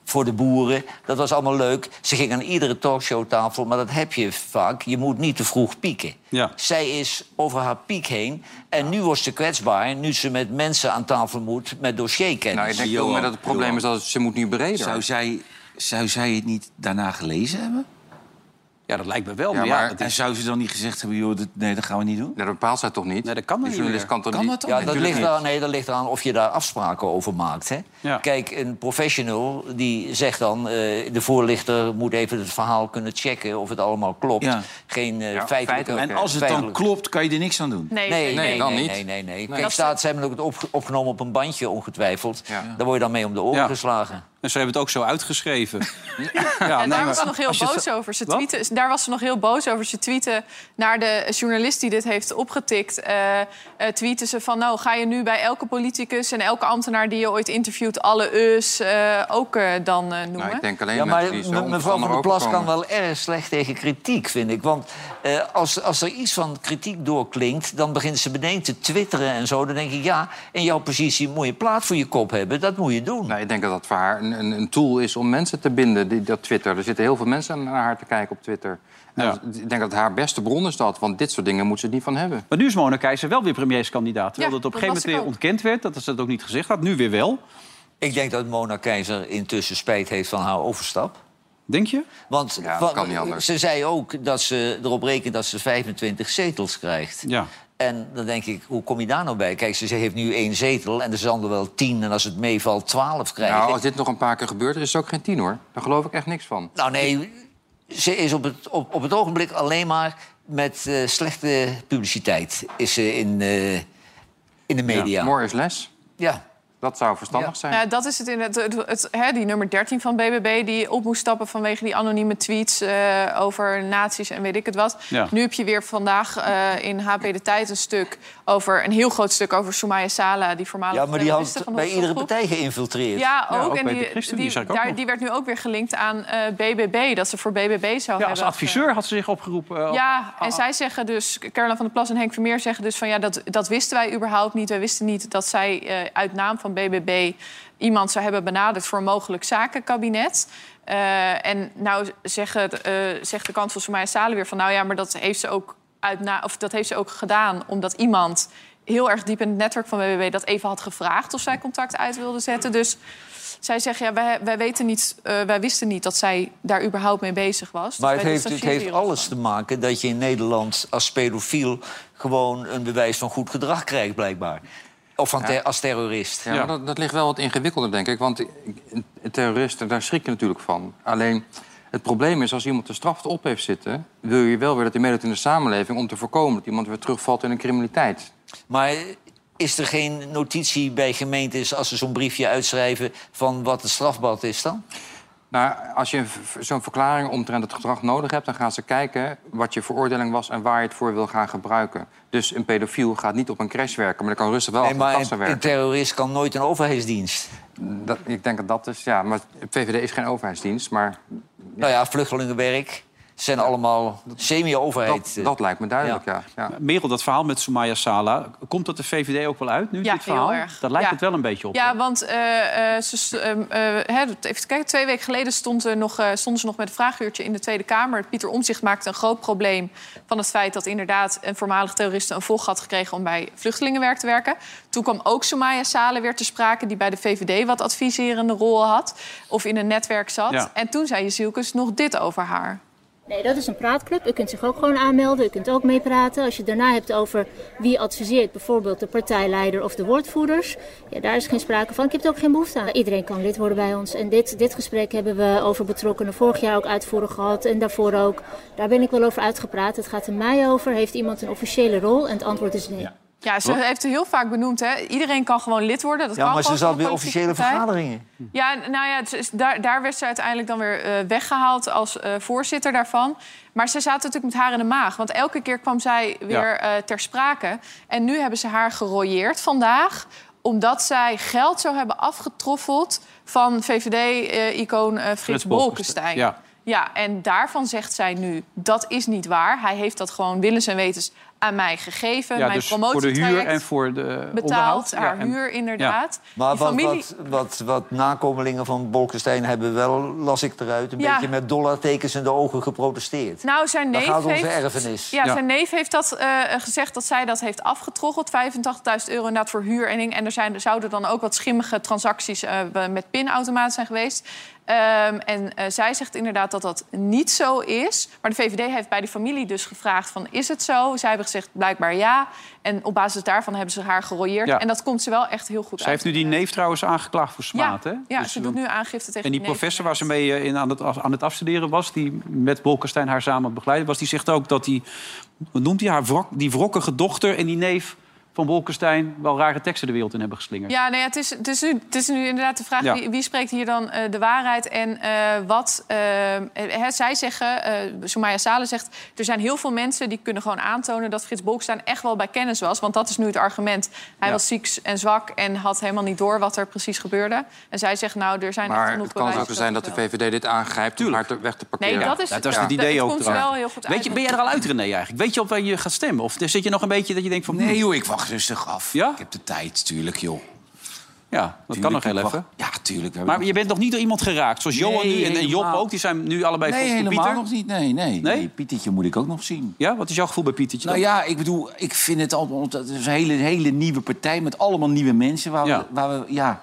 S4: voor de boeren. Dat was allemaal leuk. Ze ging aan iedere talkshowtafel, maar dat heb je vaak. Je moet niet te vroeg pieken.
S1: Ja.
S4: Zij is over haar piek heen. En nu wordt ze kwetsbaar, nu ze met mensen aan tafel moet... met dossierkennis.
S3: Nou, ik denk
S5: Johan,
S3: ook maar dat het probleem
S5: Johan.
S3: is dat het- ze moet nu breder.
S5: Zou zij, zou zij het niet daarna gelezen hebben?
S1: Ja, dat lijkt me wel.
S3: Ja,
S1: maar ja,
S3: maar-
S1: dat
S5: En
S1: is,
S5: zou ze dan niet gezegd hebben, joh, dat, nee, dat gaan we niet doen?
S3: Nee, dat bepaalt zij toch niet?
S1: Nee, dat kan
S3: Die
S1: niet
S3: journalist
S1: meer.
S3: kan toch
S5: Kan
S3: niet?
S5: dat dan?
S4: Ja, dat
S5: Natuurlijk
S4: ligt,
S5: niet.
S4: eraan, nee, dat ligt eraan of je daar afspraken over maakt. Hè?
S1: Ja.
S4: Kijk, een professional die zegt dan... eh, de voorlichter moet even het verhaal kunnen checken of het allemaal klopt.
S5: Ja.
S4: Geen eh
S3: Ja,
S4: feitelijke...
S3: feitelijk,
S5: En als het dan
S4: feitelijke-
S5: klopt, kan je er niks aan doen.
S2: Nee,
S4: Nee, nee,
S3: dan
S4: nee,
S3: niet.
S4: nee, nee, nee. Kijk,
S2: Dat-
S4: staat, ze hebben ook het opge- opgenomen op een bandje, ongetwijfeld.
S3: Ja.
S4: Daar word je dan mee om de oren
S1: Ja.
S4: geslagen.
S1: en ze hebben het ook zo uitgeschreven. Ja,
S2: en
S1: nee,
S2: daar
S1: maar-
S2: was ze nog heel
S1: als je het-
S2: boos over. Ze
S1: Wat?
S2: tweeten, daar was ze nog heel boos over. Ze tweeten naar de journalist die dit heeft opgetikt. eh eh, tweeten ze van, nou ga je nu bij elke politicus... en elke ambtenaar die je ooit interviewt alle us eh, ook eh, dan eh, noemen?
S3: Nou, ik denk alleen
S4: Ja, maar
S3: mensen die zo
S4: me- mevrouw van der
S3: onverstandig
S4: Plas kan
S3: overkomen.
S4: wel erg slecht tegen kritiek, vind ik. Want eh, als, als er iets van kritiek doorklinkt... dan begint ze beneden te twitteren en zo. Dan denk ik, ja, in jouw positie moet je plaat voor je kop hebben. Dat moet je doen.
S3: Nou, ik denk dat dat voor haar een, een, een tool is om mensen te binden, die, dat Twitter. Er zitten heel veel mensen naar haar te kijken op Twitter. En
S1: Ja.
S3: dat- ik denk dat haar beste bron is dat, want dit soort dingen moet ze niet van hebben.
S1: Maar nu is Mona Keizer wel weer premierskandidaat. Terwijl
S2: Ja,
S1: dat op een
S2: dat
S1: gegeven moment
S2: las ik
S1: weer
S2: ook.
S1: ontkend werd. Dat ze dat ook niet gezegd had. Nu weer wel.
S4: Ik denk dat Mona Keizer intussen spijt heeft van haar overstap.
S1: Denk je?
S4: Want
S3: Ja, dat
S4: wa-
S3: kan niet anders.
S4: ze zei ook dat ze erop rekent dat ze 25 zetels krijgt.
S1: Ja.
S4: En dan denk ik, hoe kom je daar nou bij? Kijk, ze ze heeft nu één zetel en er zal er wel tien. En als het meevalt, twaalf krijgen.
S3: Nou, als dit nog een paar keer gebeurt, er is het ook geen tien hoor. Daar geloof ik echt niks van.
S4: Nou nee, ze is op het, op, op het ogenblik alleen maar met eh, slechte publiciteit is ze in, eh, in de media. Ja,
S3: More is les. Dat zou verstandig
S4: Ja.
S3: zijn.
S2: Nou, dat is het in het, het, het- hè, die nummer 13 van BBB die op moest stappen vanwege die anonieme tweets eh, over nazi's en weet ik het wat.
S1: Ja.
S2: Nu heb je weer vandaag eh, in HP de tijd een stuk over een heel groot stuk over Soumaya Sala, die voormalige
S4: ja maar die
S2: terroriste
S4: had
S2: van de
S4: bij iedere
S2: Hofstadgroep.
S4: partij geïnfiltreerd.
S2: Ja, ook.
S1: ook
S2: en
S1: bij
S2: die,
S1: de ChristenUnie
S2: die-
S1: zag ik ook
S2: daar,
S1: nog.
S2: die werd nu ook weer gelinkt aan eh, BBB, dat ze voor BBB zou
S1: Ja, als
S2: hebben.
S1: adviseur had ze zich opgeroepen. eh,
S2: Ja, en
S4: ah,
S2: zij zeggen dus, Caroline van der Plas en Henk Vermeer zeggen dus van ja, dat, dat wisten wij überhaupt niet. Wij wisten niet dat zij eh, uit naam van BBB iemand zou hebben benaderd voor een mogelijk zakenkabinet. Eh, en nou zeggen, eh, zegt de kansel Soumaya Sale weer van nou ja, maar dat heeft ze ook, uit na, of dat heeft ze ook gedaan omdat iemand heel erg diep in het netwerk van BBB dat even had gevraagd of zij contact uit wilde zetten. Dus zij zeggen ja, wij, wij, weten niet, eh, wij wisten niet dat zij daar überhaupt mee bezig was. Dus
S4: Maar het
S2: wij
S4: heeft, het
S2: distancieren
S4: heeft
S2: ons
S4: alles te maken dat je in Nederland als pedofiel gewoon een bewijs van goed gedrag krijgt, blijkbaar. Of van ter- als terrorist.
S3: Ja, maar dat, dat ligt wel wat ingewikkelder, denk ik. Want ik- ik- terroristen, daar schrik je natuurlijk van. Alleen, het probleem is, als iemand de straf op heeft zitten... wil je wel weer dat hij meedoet in de samenleving... om te voorkomen dat iemand weer terugvalt in de criminaliteit.
S4: Maar is er geen notitie bij gemeentes als ze zo'n briefje uitschrijven van wat het strafbad is dan?
S3: Nou, als je een v- zo'n verklaring omtrent het gedrag nodig hebt... dan gaan ze kijken wat je veroordeling was en waar je het voor wil gaan gebruiken. Dus een pedofiel gaat niet op een crash werken... maar dan kan rustig wel
S4: Nee,
S3: achter de
S4: maar
S3: kassa
S4: een, een
S3: Oh, werken.
S4: terrorist kan nooit een overheidsdienst.
S3: Dat, ik denk dat dat is... Ja, maar het VVD is geen overheidsdienst, maar...
S4: Nou ja, vluchtelingenwerk. Het zijn allemaal
S3: Dat,
S4: semi-overheid. eh,
S3: dat lijkt me duidelijk, ja. ja.
S1: Merel, dat verhaal met Soumaya Sala, komt dat de VVD ook wel uit nu,
S2: Ja,
S1: dit verhaal?
S2: heel erg.
S1: Dat lijkt
S2: Ja.
S1: het wel een beetje op. hè?
S2: Ja, want eh, eh, ze, st- ehm, eh, hè, even kijken, twee weken geleden stond er nog, eh, stonden ze nog met een vraaguurtje in de Tweede Kamer. Pieter Omzicht maakte een groot probleem van het feit dat inderdaad een voormalig terroriste een volg had gekregen om bij vluchtelingenwerk te werken. Toen kwam ook Soumaya Saleh weer te sprake, die bij de VVD wat adviserende rol had of in een netwerk zat.
S1: Ja.
S2: En toen zei Jezielkes nog dit over haar.
S8: Nee, dat is een praatclub. U kunt zich ook gewoon aanmelden. U kunt ook meepraten. Als je het daarna hebt over wie adviseert, bijvoorbeeld de partijleider of de woordvoerders. Ja, daar is geen sprake van. Ik heb er ook geen behoefte aan. Iedereen kan lid worden bij ons. En dit, dit gesprek hebben we over betrokkenen vorig jaar ook uitvoerig gehad. En daarvoor ook. Daar ben ik wel over uitgepraat. Het gaat er mij over. Heeft iemand een officiële rol? En het antwoord is nee.
S2: Ja, ze heeft het heel vaak benoemd. Hè? Iedereen kan gewoon lid worden. Dat
S4: Ja,
S2: kan
S4: maar ze
S2: gewoon van
S4: zat
S2: een
S4: bij
S2: politieke
S4: officiële
S2: partij.
S4: vergaderingen.
S2: Ja, n- nou ja, het is- daar, daar werd ze uiteindelijk dan weer eh, weggehaald als eh, voorzitter daarvan. Maar ze zaten natuurlijk met haar in de maag. Want elke keer kwam zij weer eh, ter sprake. En nu hebben ze haar gerooieerd vandaag omdat zij geld zou hebben afgetroffeld van VVD-icoon eh, Frits Bolkestein.
S1: Ja.
S2: Ja, en daarvan zegt zij nu, dat is niet waar. Hij heeft dat gewoon willens en wetens aan mij gegeven.
S1: Ja,
S2: Eh, mijn
S1: dus voor de huur
S2: promotietraject
S1: en voor de
S2: betaald,
S1: onderhoud. Ja,
S2: haar
S1: en-
S2: huur inderdaad.
S4: Maar
S2: Die
S4: wat, wat, wat, wat nakomelingen van Bolkestein hebben wel, las ik eruit... een
S2: Ja.
S4: beetje met dollartekens in de ogen geprotesteerd.
S2: Nou, zijn
S4: Daar
S2: neef
S4: gaat onze
S2: heeft...
S4: erfenis.
S2: Ja,
S1: Ja.
S2: zijn neef heeft dat eh, gezegd dat zij dat heeft afgetroggeld. 85.000 euro inderdaad voor huur en ding. En er, zijn, er zouden dan ook wat schimmige transacties eh, be- met pinautomaat zijn geweest. Ehm, en eh, zij zegt inderdaad dat dat niet zo is. Maar de VVD heeft bij die familie dus gevraagd van is het zo? Zij hebben gezegd blijkbaar ja. En op basis daarvan hebben ze haar gerooieerd.
S1: Ja.
S2: En dat komt ze wel echt heel goed
S1: Zij
S2: uit.
S1: heeft nu die neef trouwens aangeklaagd voor smaad,
S2: ja,
S1: hè?
S2: ja
S1: Dus
S2: ze
S1: dan-
S2: doet nu aangifte tegen
S1: En die
S2: die neef.
S1: professor waar ze mee eh, in aan, het, af- aan het afstuderen was, die met Bolkestein haar samen begeleidde, was, die zegt ook dat die, hoe noemt hij haar, wrok, die wrokkige dochter en die neef van Bolkestein wel rare teksten de wereld in hebben geslingerd.
S2: Ja, nou ja, het, is, het, is nu, het is nu inderdaad de vraag
S1: Ja.
S2: wie, wie spreekt hier dan eh, de waarheid en eh, wat. eh, hè, zij zeggen, eh Soumaya Saleh zegt... er zijn heel veel mensen die kunnen gewoon aantonen... dat Frits Bolkestein echt wel bij kennis was. Want dat is nu het argument. Hij
S1: Ja.
S2: was ziek en zwak en had helemaal niet door wat er precies gebeurde. En zij zegt, nou, er zijn echt
S3: Maar
S2: genoeg
S3: het kan
S2: bewijzen
S3: ook zo zijn dat de
S2: wel.
S3: VVD dit aangrijpt om haar te- weg te
S2: Nee,
S3: parkeren.
S2: dat is
S1: dat was het
S2: dat-
S1: idee
S2: het
S1: ook
S2: komt
S1: erachter.
S2: wel heel goed
S1: Weet
S2: uit.
S1: je, ben je er al uit, René, eigenlijk? Weet je op waar je gaat stemmen? Of zit je nog een beetje dat je denkt van... hmm,
S5: Nee, joh, ik wacht rustig af.
S1: Ja?
S5: Ik heb de tijd, tuurlijk, joh.
S1: Ja, dat kan
S5: Tuurlijk,
S1: nog heel
S5: ik wacht-
S1: even.
S5: Ja, tuurlijk. we hebben
S1: Maar je bent nog niet door iemand geraakt. Zoals Johan nu en, en Job
S5: helemaal.
S1: ook. Die zijn nu allebei
S5: Nee,
S1: volgens de
S5: helemaal
S1: Pieter.
S5: nog niet. Nee,
S1: Nee?
S5: nee. nee Pietertje moet ik ook nog zien.
S1: Ja, wat is jouw gevoel bij Pietertje?
S5: Nou
S1: dan?
S5: ja, ik bedoel, ik vind het allemaal... Het is een hele, hele nieuwe partij met allemaal nieuwe mensen. Waar,
S1: Ja.
S5: we, waar we... Ja,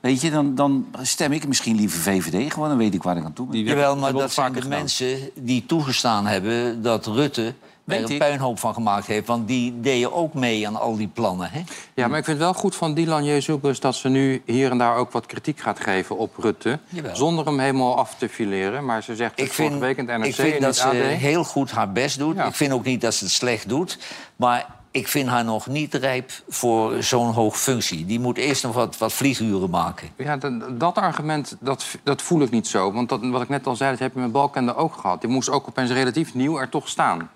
S5: weet je, dan, dan stem ik misschien liever VVD gewoon. Dan weet ik waar ik aan toe ben.
S1: Die
S4: Jawel, maar
S1: hebben we
S4: dat
S1: ook
S4: zijn de
S1: vaker gedaan.
S4: mensen die toegestaan hebben dat Rutte
S5: Weet
S4: er een
S5: ik.
S4: puinhoop van gemaakt heeft. Want die deden ook mee aan al die plannen. Hè?
S3: Ja, maar ik vind het wel goed van Dylan Jezus dat ze nu hier en daar ook wat kritiek gaat geven op Rutte.
S4: Jawel.
S3: Zonder hem helemaal af te fileren. Maar ze zegt
S4: Ik
S3: het vorige
S4: vind,
S3: week in het NRC
S4: ik vind
S3: in
S4: dat
S3: het
S4: ze
S3: AD.
S4: heel goed haar best doet.
S3: Ja.
S4: Ik vind ook niet dat ze het slecht doet. Maar ik vind haar nog niet rijp voor zo'n hoog functie. Die moet eerst nog wat, wat vlieguren maken.
S3: Ja, dat, dat argument, dat, dat voel ik niet zo. Want dat, wat ik net al zei, dat heb je met Balkende ook gehad. Die moest ook opeens relatief nieuw er toch staan.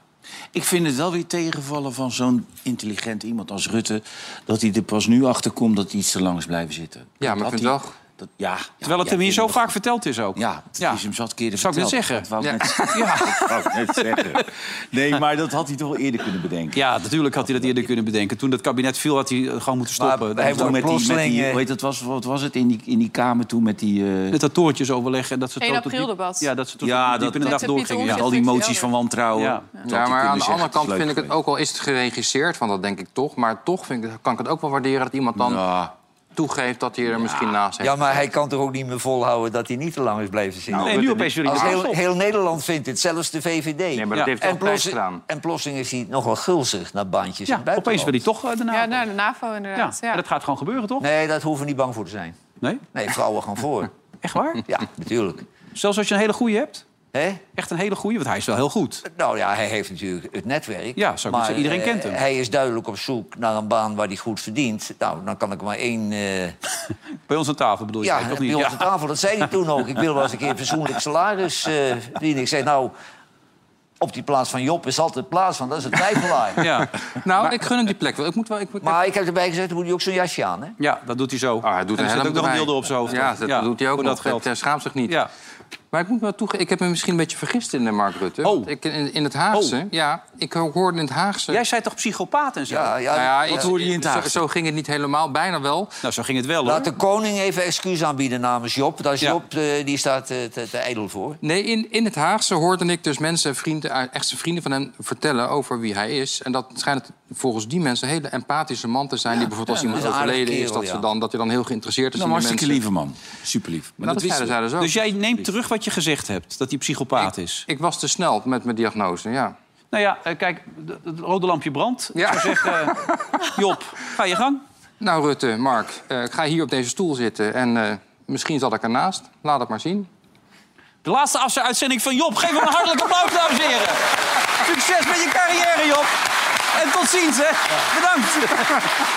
S5: Ik vind het wel weer tegenvallen van zo'n intelligent iemand als Rutte... dat hij er pas nu achter komt dat hij iets te lang is blijven zitten.
S3: Ja, maar
S5: dat
S3: ik vind
S5: hij-
S3: wel-
S5: Dat, ja,
S1: Terwijl het
S5: ja,
S1: hem hier
S5: ja,
S1: zo
S5: dat-
S1: vaak verteld is ook.
S5: Ja, het is hem zat keren
S1: Zou ik
S5: verteld.
S1: net zeggen.
S5: Dat wou ik net, ja, dat wou ik net zeggen. Nee, maar dat had hij toch wel eerder kunnen bedenken.
S1: Ja, natuurlijk had hij dat eerder kunnen bedenken. Toen dat kabinet viel, had hij eh, gewoon moeten
S4: Maar
S1: stoppen.
S4: hij
S1: Dat-
S4: wordt
S5: Toen met die, met
S4: plotseling,
S5: die,
S4: eh,
S5: hoe heet dat was, wat was het in die, in die kamer toen met die... eh,
S1: Met dat toortjes overleggen. en Dat ze
S2: 1
S1: tot op diep-
S2: april-debat.
S1: Ja, dat ze tot
S5: Ja,
S1: ja, diep
S5: dat-
S1: in de dag
S2: Dat ze Pieter
S1: doorgingen.
S5: met
S1: Ja.
S2: Omtzigt-
S5: al die emoties van wantrouwen.
S1: Ja.
S5: Dat had hij
S3: Ja, maar
S5: kunnen
S3: aan de
S5: zeggen,
S3: andere
S5: dat is
S3: kant vind ik
S5: leuk
S3: het ook al is het geregisseerd van dat denk ik toch. Maar toch vind ik, kan ik het ook wel waarderen dat iemand dan
S5: Ja.
S3: toegeeft dat hij er misschien naast heeft.
S4: Nou. Ja, maar hij kan toch ook niet meer volhouden dat hij niet te lang is blijven zitten.
S3: Nou,
S1: Nee, nu opeens jullie
S4: Als
S1: de
S4: heel,
S1: kast op.
S4: heel Nederland vindt dit, zelfs de VVD.
S3: Nee, maar
S1: Ja.
S3: dat heeft hij
S4: en,
S3: altijd
S4: plots,
S3: gedaan.
S4: en plotseling is hij nogal gulzig naar bandjes in
S1: Ja,
S4: het buitenland.
S1: opeens wil hij toch eh, daarna.
S2: Ja, naar de NAVO inderdaad. Ja.
S1: En dat gaat gewoon gebeuren, toch?
S4: Nee, daar hoeven we niet bang voor te zijn.
S1: Nee?
S4: Nee, vrouwen gaan voor.
S1: Echt waar?
S4: Ja, natuurlijk.
S1: Zelfs als je een hele goeie hebt?
S4: Hè?
S1: Echt een hele goeie, want hij is wel heel goed.
S4: Nou ja, hij heeft natuurlijk het netwerk.
S1: Ja, zou ik
S4: maar,
S1: zeggen, iedereen
S4: eh,
S1: kent hem.
S4: Hij is duidelijk op zoek naar een baan waar hij goed verdient. Nou, dan kan ik maar één... eh,
S1: Bij ons aan tafel bedoel je,
S4: ja,
S1: zeker, of
S4: bij ons
S1: niet?
S4: aan tafel, dat zei hij toen ook. Ik wil wel eens een keer een persoonlijk salaris eh, verdienen. Ik zei, nou, op die plaats van Job is altijd plaats van. Dat is een twijfelaar.
S1: Ja.
S3: Nou, ik gun hem die plek wel. Ik moet wel ik, ik-
S4: Maar ik heb erbij gezegd, dan moet hij ook zo'n jasje aan, hè?
S1: ja, dat doet hij zo.
S3: Ah, hij doet
S1: en
S3: een
S1: er zit ook nog
S3: heleboel
S1: een
S3: bij.
S1: dildo op zijn hoofd.
S3: Ja,
S1: toch?
S3: dat eh, doet hij ook
S1: voor
S3: nog.
S1: dat geld.
S3: Hij schaamt zich niet.
S1: Ja.
S3: Maar ik moet wel toegeven, ik heb me misschien een beetje vergist in de Mark Rutte.
S1: Oh.
S3: Want Ik, in, in het Haagse,
S1: Oh.
S3: ja, ik hoorde in het Haagse...
S1: Jij zei toch psychopaat en zo?
S4: Ja, ja,
S3: Nou ja,
S5: Wat
S3: ik-
S5: hoorde je in het
S3: zo-
S5: Haagse?
S3: Zo, ging het niet helemaal, bijna wel.
S1: Nou, zo ging het wel, hoor.
S4: Laat de koning even excuus aanbieden namens Job. Daar is
S1: Ja.
S4: Job, eh, die staat eh, te, te ijdel voor.
S3: Nee, in, in het Haagse hoorde ik dus mensen, vrienden, eh, echte vrienden van hem vertellen over wie hij is. En dat schijnt volgens die mensen een hele empathische man te zijn. die bijvoorbeeld als iemand
S4: is een aardige
S3: overleden is,
S4: kerel,
S3: dat, ze
S4: ja.
S3: dan, dat hij dan heel geïnteresseerd is
S5: Nou,
S3: in die
S5: hartstikke
S3: mensen.
S5: lieve man. Super lief. Maar
S3: Nou,
S5: dat
S3: dat zeiden
S5: wisten
S3: zij
S5: we.
S3: dus ook.
S1: Dus jij neemt terug wat je gezegd hebt, dat hij psychopaat is.
S3: Ik was te snel met mijn diagnose, ja.
S1: Nou ja, eh, kijk, d- het rode lampje brandt.
S3: Ja.
S1: Ik zou zeggen, eh, Job, ga je gang.
S3: Nou, Rutte, Mark, eh, ik ga hier op deze stoel zitten en eh, misschien zat ik ernaast. Laat het maar zien.
S1: De laatste afzei-uitzending van Job. Geef hem een hartelijk applaus, dames en heren. Succes met je carrière, Job. En tot ziens, hè. Bedankt.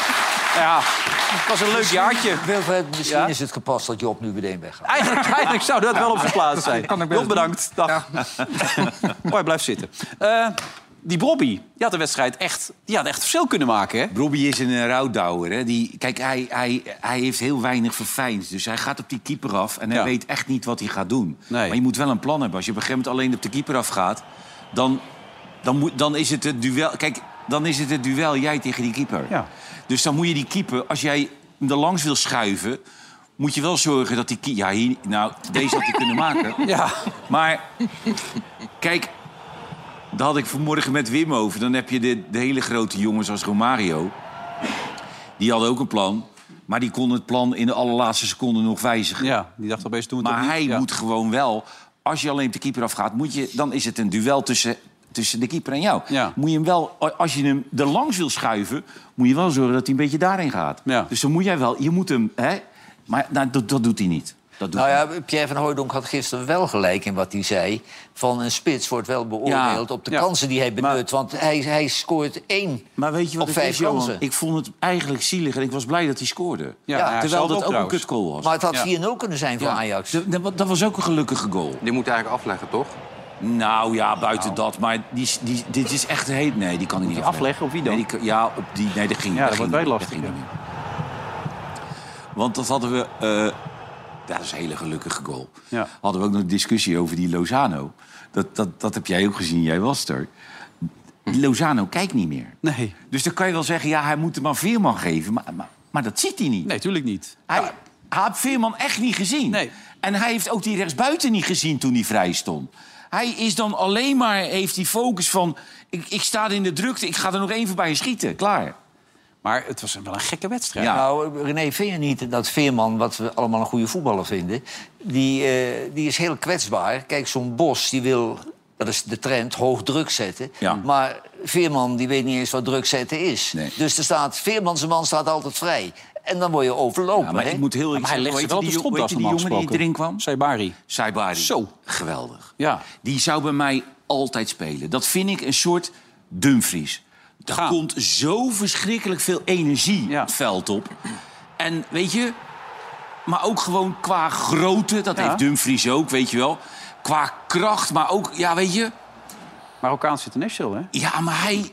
S1: Ja, het was een leuk jaartje.
S4: Wilfred, misschien
S1: Ja?
S4: is het gepast dat Job nu meteen weggaat.
S1: Eigenlijk, eigenlijk zou dat wel op zijn plaats zijn. Job, bedankt. Dag. Hoi, blijf zitten. Eh, die Bobby, die had de wedstrijd echt, die had echt verschil kunnen maken, hè?
S5: Robbie is een eh, rouwdouwer. Hè? Die, kijk, hij, hij, hij heeft heel weinig verfijnd. Dus hij gaat op die keeper af en hij
S1: Ja.
S5: weet echt niet wat hij gaat doen.
S1: Nee.
S5: Maar je moet wel een plan hebben. Als je op een gegeven moment alleen op de keeper afgaat... dan, dan, moet, dan is het het duel... Kijk, dan is het het duel jij tegen die keeper.
S1: Ja.
S5: Dus dan moet je die keeper... Als jij hem er langs wil schuiven... moet je wel zorgen dat die keeper... Ja, hier, nou, deze had hij kunnen maken.
S1: Ja.
S5: Maar kijk, daar had ik vanmorgen met Wim over. Dan heb je de, de hele grote jongens als Romario. Die hadden ook een plan. Maar die kon het plan in de allerlaatste seconde nog wijzigen.
S1: ja, die dacht opeens toen... we het
S5: Maar
S1: opnieuw-
S5: hij
S1: ja.
S5: moet gewoon wel... Als je alleen op de keeper afgaat, moet je, dan is het een duel tussen, tussen de keeper en jou.
S1: Ja.
S5: Moet je hem wel, als je hem er langs wil schuiven... moet je wel zorgen dat hij een beetje daarin gaat.
S1: Ja.
S5: Dus dan moet jij wel... Je moet hem... Hè, maar nou, dat, dat doet hij niet. Dat doet
S4: Nou
S5: hij
S4: ja, Pierre van Hooijdonk had gisteren wel gelijk in wat hij zei. Van een spits wordt wel beoordeeld op de
S1: ja.
S4: kansen die hij benut. Want hij, hij scoort één
S5: Maar weet je wat
S4: op
S5: ik
S4: vijf
S5: is, Johan?
S4: kansen.
S5: Ik vond het eigenlijk zielig en ik was blij dat hij scoorde.
S1: Ja, hij zelf
S5: Terwijl dat
S1: ook
S5: ook een
S1: trouwens.
S5: kutgoal was.
S4: Maar het had
S1: Ja.
S4: 4-0 kunnen zijn voor
S5: Ja.
S4: Ajax.
S5: Dat- Dat, dat was ook een gelukkige goal.
S3: Die moet je eigenlijk afleggen, toch?
S5: Nou ja, buiten dat. Maar die, die, dit is echt een heet. Nee, die kan ik niet
S1: afleggen? Op wie dan?
S5: Nee, die kan- ja, op die. Nee, dat ging
S1: Ja, dat
S5: ging
S1: wordt
S5: niet,
S1: wel
S5: dat
S1: lastig,
S5: ging niet. Want dat hadden we. eh, dat is een hele gelukkige goal.
S1: Ja.
S5: Hadden we ook nog een discussie over die Lozano. Dat, dat, dat heb jij ook gezien, jij was er. Die Lozano kijkt niet meer.
S1: Nee,
S5: Dus dan kan je wel zeggen, ja, hij moet hem aan Veerman geven. Maar, maar, maar dat ziet hij niet.
S1: nee, tuurlijk niet.
S5: Hij, hij had Veerman echt niet gezien.
S1: Nee.
S5: En hij heeft ook die rechtsbuiten niet gezien toen hij vrij stond. Hij is dan alleen maar, heeft die focus van... ik, ik sta er in de drukte, ik ga er nog één voorbij en schieten. Klaar.
S1: Maar het was een- wel een gekke wedstrijd.
S5: Ja.
S4: Nou, René, vind je niet dat Veerman, wat we allemaal een goede voetballer vinden... die, eh, die is heel kwetsbaar. Kijk, zo'n Bos, die wil, dat is de trend, hoog druk zetten.
S5: Ja.
S4: Maar Veerman, die weet niet eens wat druk zetten is.
S5: Nee.
S4: Dus er staat, Veerman zijn man staat altijd vrij. En dan word je overlopen,
S5: Ja, maar
S4: hè?
S5: ik moet heel
S1: Maar
S5: eerlijk
S1: hij
S5: zeggen,
S1: legde
S5: hoe
S1: ze
S5: heet
S1: wel op de
S5: die jongen-
S1: stropdas
S5: hoe heet
S1: normaal
S5: die jongen
S1: gesproken.
S5: die erin kwam?
S1: Saibari.
S5: Saibari.
S1: Zo.
S5: Geweldig.
S1: Ja.
S5: Die zou bij mij altijd spelen. Dat vind ik een soort Dumfries. Daar
S1: Gaan.
S5: komt zo verschrikkelijk veel energie
S1: Ja.
S5: het veld op. En weet je... Maar ook gewoon qua grootte, dat
S1: Ja.
S5: heeft Dumfries ook, weet je wel. Qua kracht, maar ook, ja, weet je...
S1: Marokkaans international, hè?
S5: Ja, maar hij...